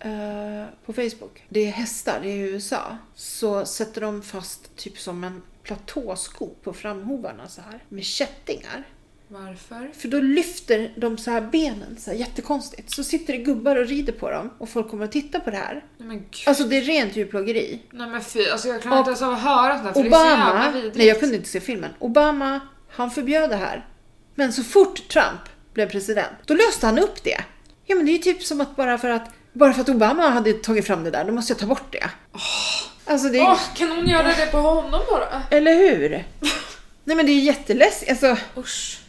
[SPEAKER 1] eh, på Facebook. Det är hästar i USA. Så sätter de fast typ som en platåsko på framhovarna så här med kättingar.
[SPEAKER 2] Varför?
[SPEAKER 1] För då lyfter de så här benen så här jättekonstigt. Så sitter det gubbar och rider på dem och folk kommer att titta på det här.
[SPEAKER 2] Nej men gud.
[SPEAKER 1] Alltså det är rent djurplågeri.
[SPEAKER 2] Nej men fy, alltså jag klarar inte
[SPEAKER 1] Och-
[SPEAKER 2] ens av att höra sånt där för det är så
[SPEAKER 1] Obama,
[SPEAKER 2] jävla vidrigt.
[SPEAKER 1] nej jag kunde inte se filmen. Obama, han förbjöd det här. Men så fort Trump blev president, då löste han upp det. Ja men det är ju typ som att bara för att, bara för att Obama hade tagit fram det där, då måste jag ta bort det. Alltså det är,
[SPEAKER 2] Åh, kan hon göra det på honom bara?
[SPEAKER 1] eller
[SPEAKER 2] <laughs>
[SPEAKER 1] hur? nej men det är ju jätteläskigt. Alltså,
[SPEAKER 2] Usch.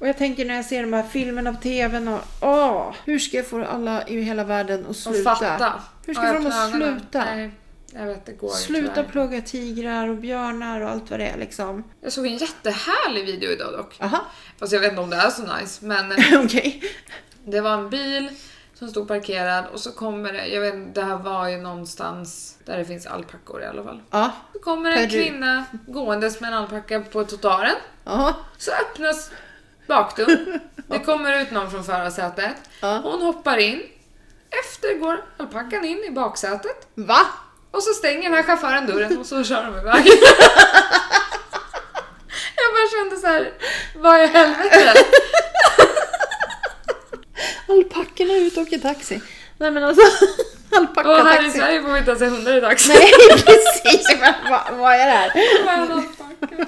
[SPEAKER 1] och jag tänker när jag ser de här filmerna på tvn och åh, hur ska jag få alla i hela världen att
[SPEAKER 2] Och
[SPEAKER 1] sluta?
[SPEAKER 2] fatta.
[SPEAKER 1] Hur ska
[SPEAKER 2] Ja, jag
[SPEAKER 1] få dem att
[SPEAKER 2] planerar.
[SPEAKER 1] sluta?
[SPEAKER 2] Nej, jag vet det går
[SPEAKER 1] Sluta
[SPEAKER 2] tyvärr.
[SPEAKER 1] plåga tigrar och björnar och allt vad det är liksom.
[SPEAKER 2] Jag såg en jättehärlig video idag dock.
[SPEAKER 1] Aha,
[SPEAKER 2] Fast jag vet inte om det är så nice men
[SPEAKER 1] <laughs> okej.
[SPEAKER 2] det var en bil som stod parkerad och så kommer det, jag vet inte, det här var ju någonstans där det finns alpackor i alla fall.
[SPEAKER 1] Ja.
[SPEAKER 2] Så kommer en
[SPEAKER 1] Peru.
[SPEAKER 2] kvinna gåendes med en alpacka på trottoaren.
[SPEAKER 1] Ja.
[SPEAKER 2] Så öppnas bakdörren. Det kommer ut någon från förarsätet.
[SPEAKER 1] Ja.
[SPEAKER 2] Hon hoppar in. Efter går alpackan in i baksätet.
[SPEAKER 1] Va?
[SPEAKER 2] Och så stänger den här chauffören dörren och så kör de
[SPEAKER 1] <laughs>
[SPEAKER 2] iväg. Jag bara kände så här, vad i helvete?
[SPEAKER 1] Alpackorna är ute och åker taxi. Nej men alltså, <laughs>
[SPEAKER 2] Och här i
[SPEAKER 1] alpackataxi.
[SPEAKER 2] Sverige får vi inte ens se hundar i
[SPEAKER 1] <laughs>
[SPEAKER 2] taxi.
[SPEAKER 1] Nej precis, men vad, vad är det här?
[SPEAKER 2] Bara en alpacka.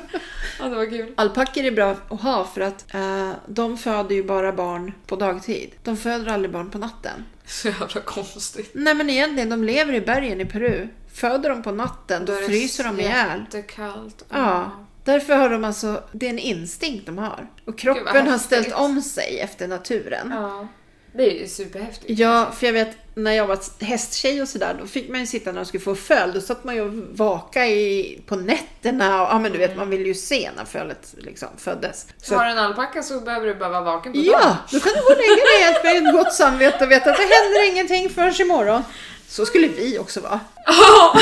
[SPEAKER 2] Ja, det var kul.
[SPEAKER 1] Alpackor är bra att ha för att eh, de föder ju bara barn på dagtid. De föder aldrig barn på natten.
[SPEAKER 2] <laughs> Så jävla konstigt.
[SPEAKER 1] Nej men egentligen, de lever i bergen i Peru. Föder de på natten, då
[SPEAKER 2] är det
[SPEAKER 1] fryser de ihjäl.
[SPEAKER 2] Jättekallt.
[SPEAKER 1] Ja. Därför har de alltså, det är en instinkt de har. Och kroppen har
[SPEAKER 2] häftigt.
[SPEAKER 1] ställt om sig efter naturen.
[SPEAKER 2] Ja. Det är ju superhäftigt.
[SPEAKER 1] Ja, för jag vet när jag var hästtjej och sådär, då fick man ju sitta när de skulle få föl. Då satt man ju och vaka i, på nätterna och ja men du vet, man vill ju se när fölet liksom föddes. Så,
[SPEAKER 2] Har du en alpacka så behöver du bara vara vaken på dagen. <laughs>
[SPEAKER 1] ja, då kan du gå och lägga dig helt med ett gott samvete och veta att det händer ingenting förrän imorgon. Så skulle vi också vara.
[SPEAKER 2] Ja!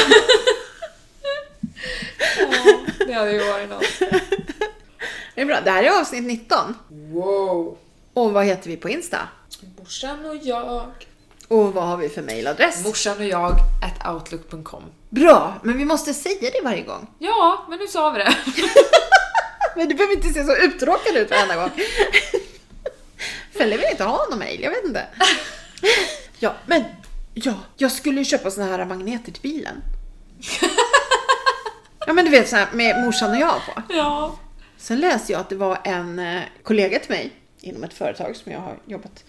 [SPEAKER 2] Ja, det hade ju varit något.
[SPEAKER 1] Det är bra. Det här är avsnitt 19.
[SPEAKER 2] Wow!
[SPEAKER 1] Och vad heter vi på Insta?
[SPEAKER 2] Morsan och jag.
[SPEAKER 1] Och vad har vi för mailadress?
[SPEAKER 2] Morsan och jag at outlook.com.
[SPEAKER 1] Bra, men vi måste säga det varje gång.
[SPEAKER 2] Ja, men nu sa vi det.
[SPEAKER 1] Men du behöver inte se så uttråkad ut varenda <laughs> gång. Fälle vill inte ha någon mail, jag vet <laughs> inte. Ja, men ja, jag skulle ju köpa såna här magneter till <laughs> bilen. Ja men du vet såhär med morsan och jag på.
[SPEAKER 2] Ja.
[SPEAKER 1] Sen läste jag att det var en eh, kollega till mig inom ett företag som jag har jobbat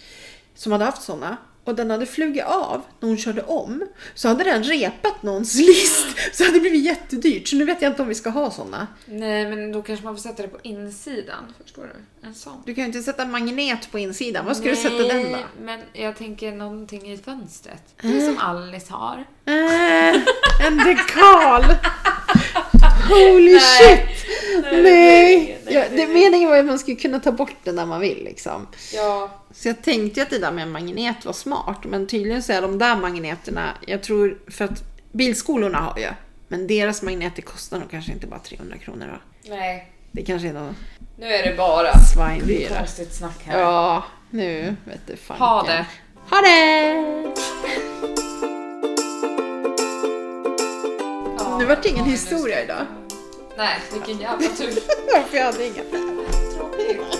[SPEAKER 1] som hade haft såna och den hade flugit av när hon körde om så hade den repat någons <laughs> list så hade det blivit jättedyrt så nu vet jag inte om vi ska ha såna.
[SPEAKER 2] Nej, men då kanske man får sätta det på insidan. Förstår du? En sån.
[SPEAKER 1] Du kan ju inte sätta en magnet på insidan. Vad ska du sätta
[SPEAKER 2] Nej,
[SPEAKER 1] den då? Mm.
[SPEAKER 2] men jag tänker någonting i fönstret. Det som Alice har.
[SPEAKER 1] Eh, en dekal! Holy
[SPEAKER 2] Nej.
[SPEAKER 1] shit!
[SPEAKER 2] Nej,
[SPEAKER 1] Nej!
[SPEAKER 2] nej,
[SPEAKER 1] ja, det,
[SPEAKER 2] nej.
[SPEAKER 1] meningen var ju att man skulle kunna ta bort den när man vill liksom.
[SPEAKER 2] Ja.
[SPEAKER 1] Så jag tänkte ju att det där med en magnet var smart. Men tydligen så är de där magneterna, jag tror för att bilskolorna har ju. Men deras magneter kostar nog kanske inte bara 300 kronor va?
[SPEAKER 2] Nej.
[SPEAKER 1] Det kanske är något
[SPEAKER 2] Nu är det bara
[SPEAKER 1] svindyra.
[SPEAKER 2] konstigt snack här.
[SPEAKER 1] Ja, nu vet du fan.
[SPEAKER 2] Ha det.
[SPEAKER 1] Ha det! <laughs>
[SPEAKER 2] Ja,
[SPEAKER 1] Nu vart det ingen
[SPEAKER 2] vad vi nu
[SPEAKER 1] historia
[SPEAKER 2] ska-
[SPEAKER 1] idag. <laughs>
[SPEAKER 2] Nej, vilken jävla tur.
[SPEAKER 1] För jag hade ingen.
[SPEAKER 2] Tråkigt.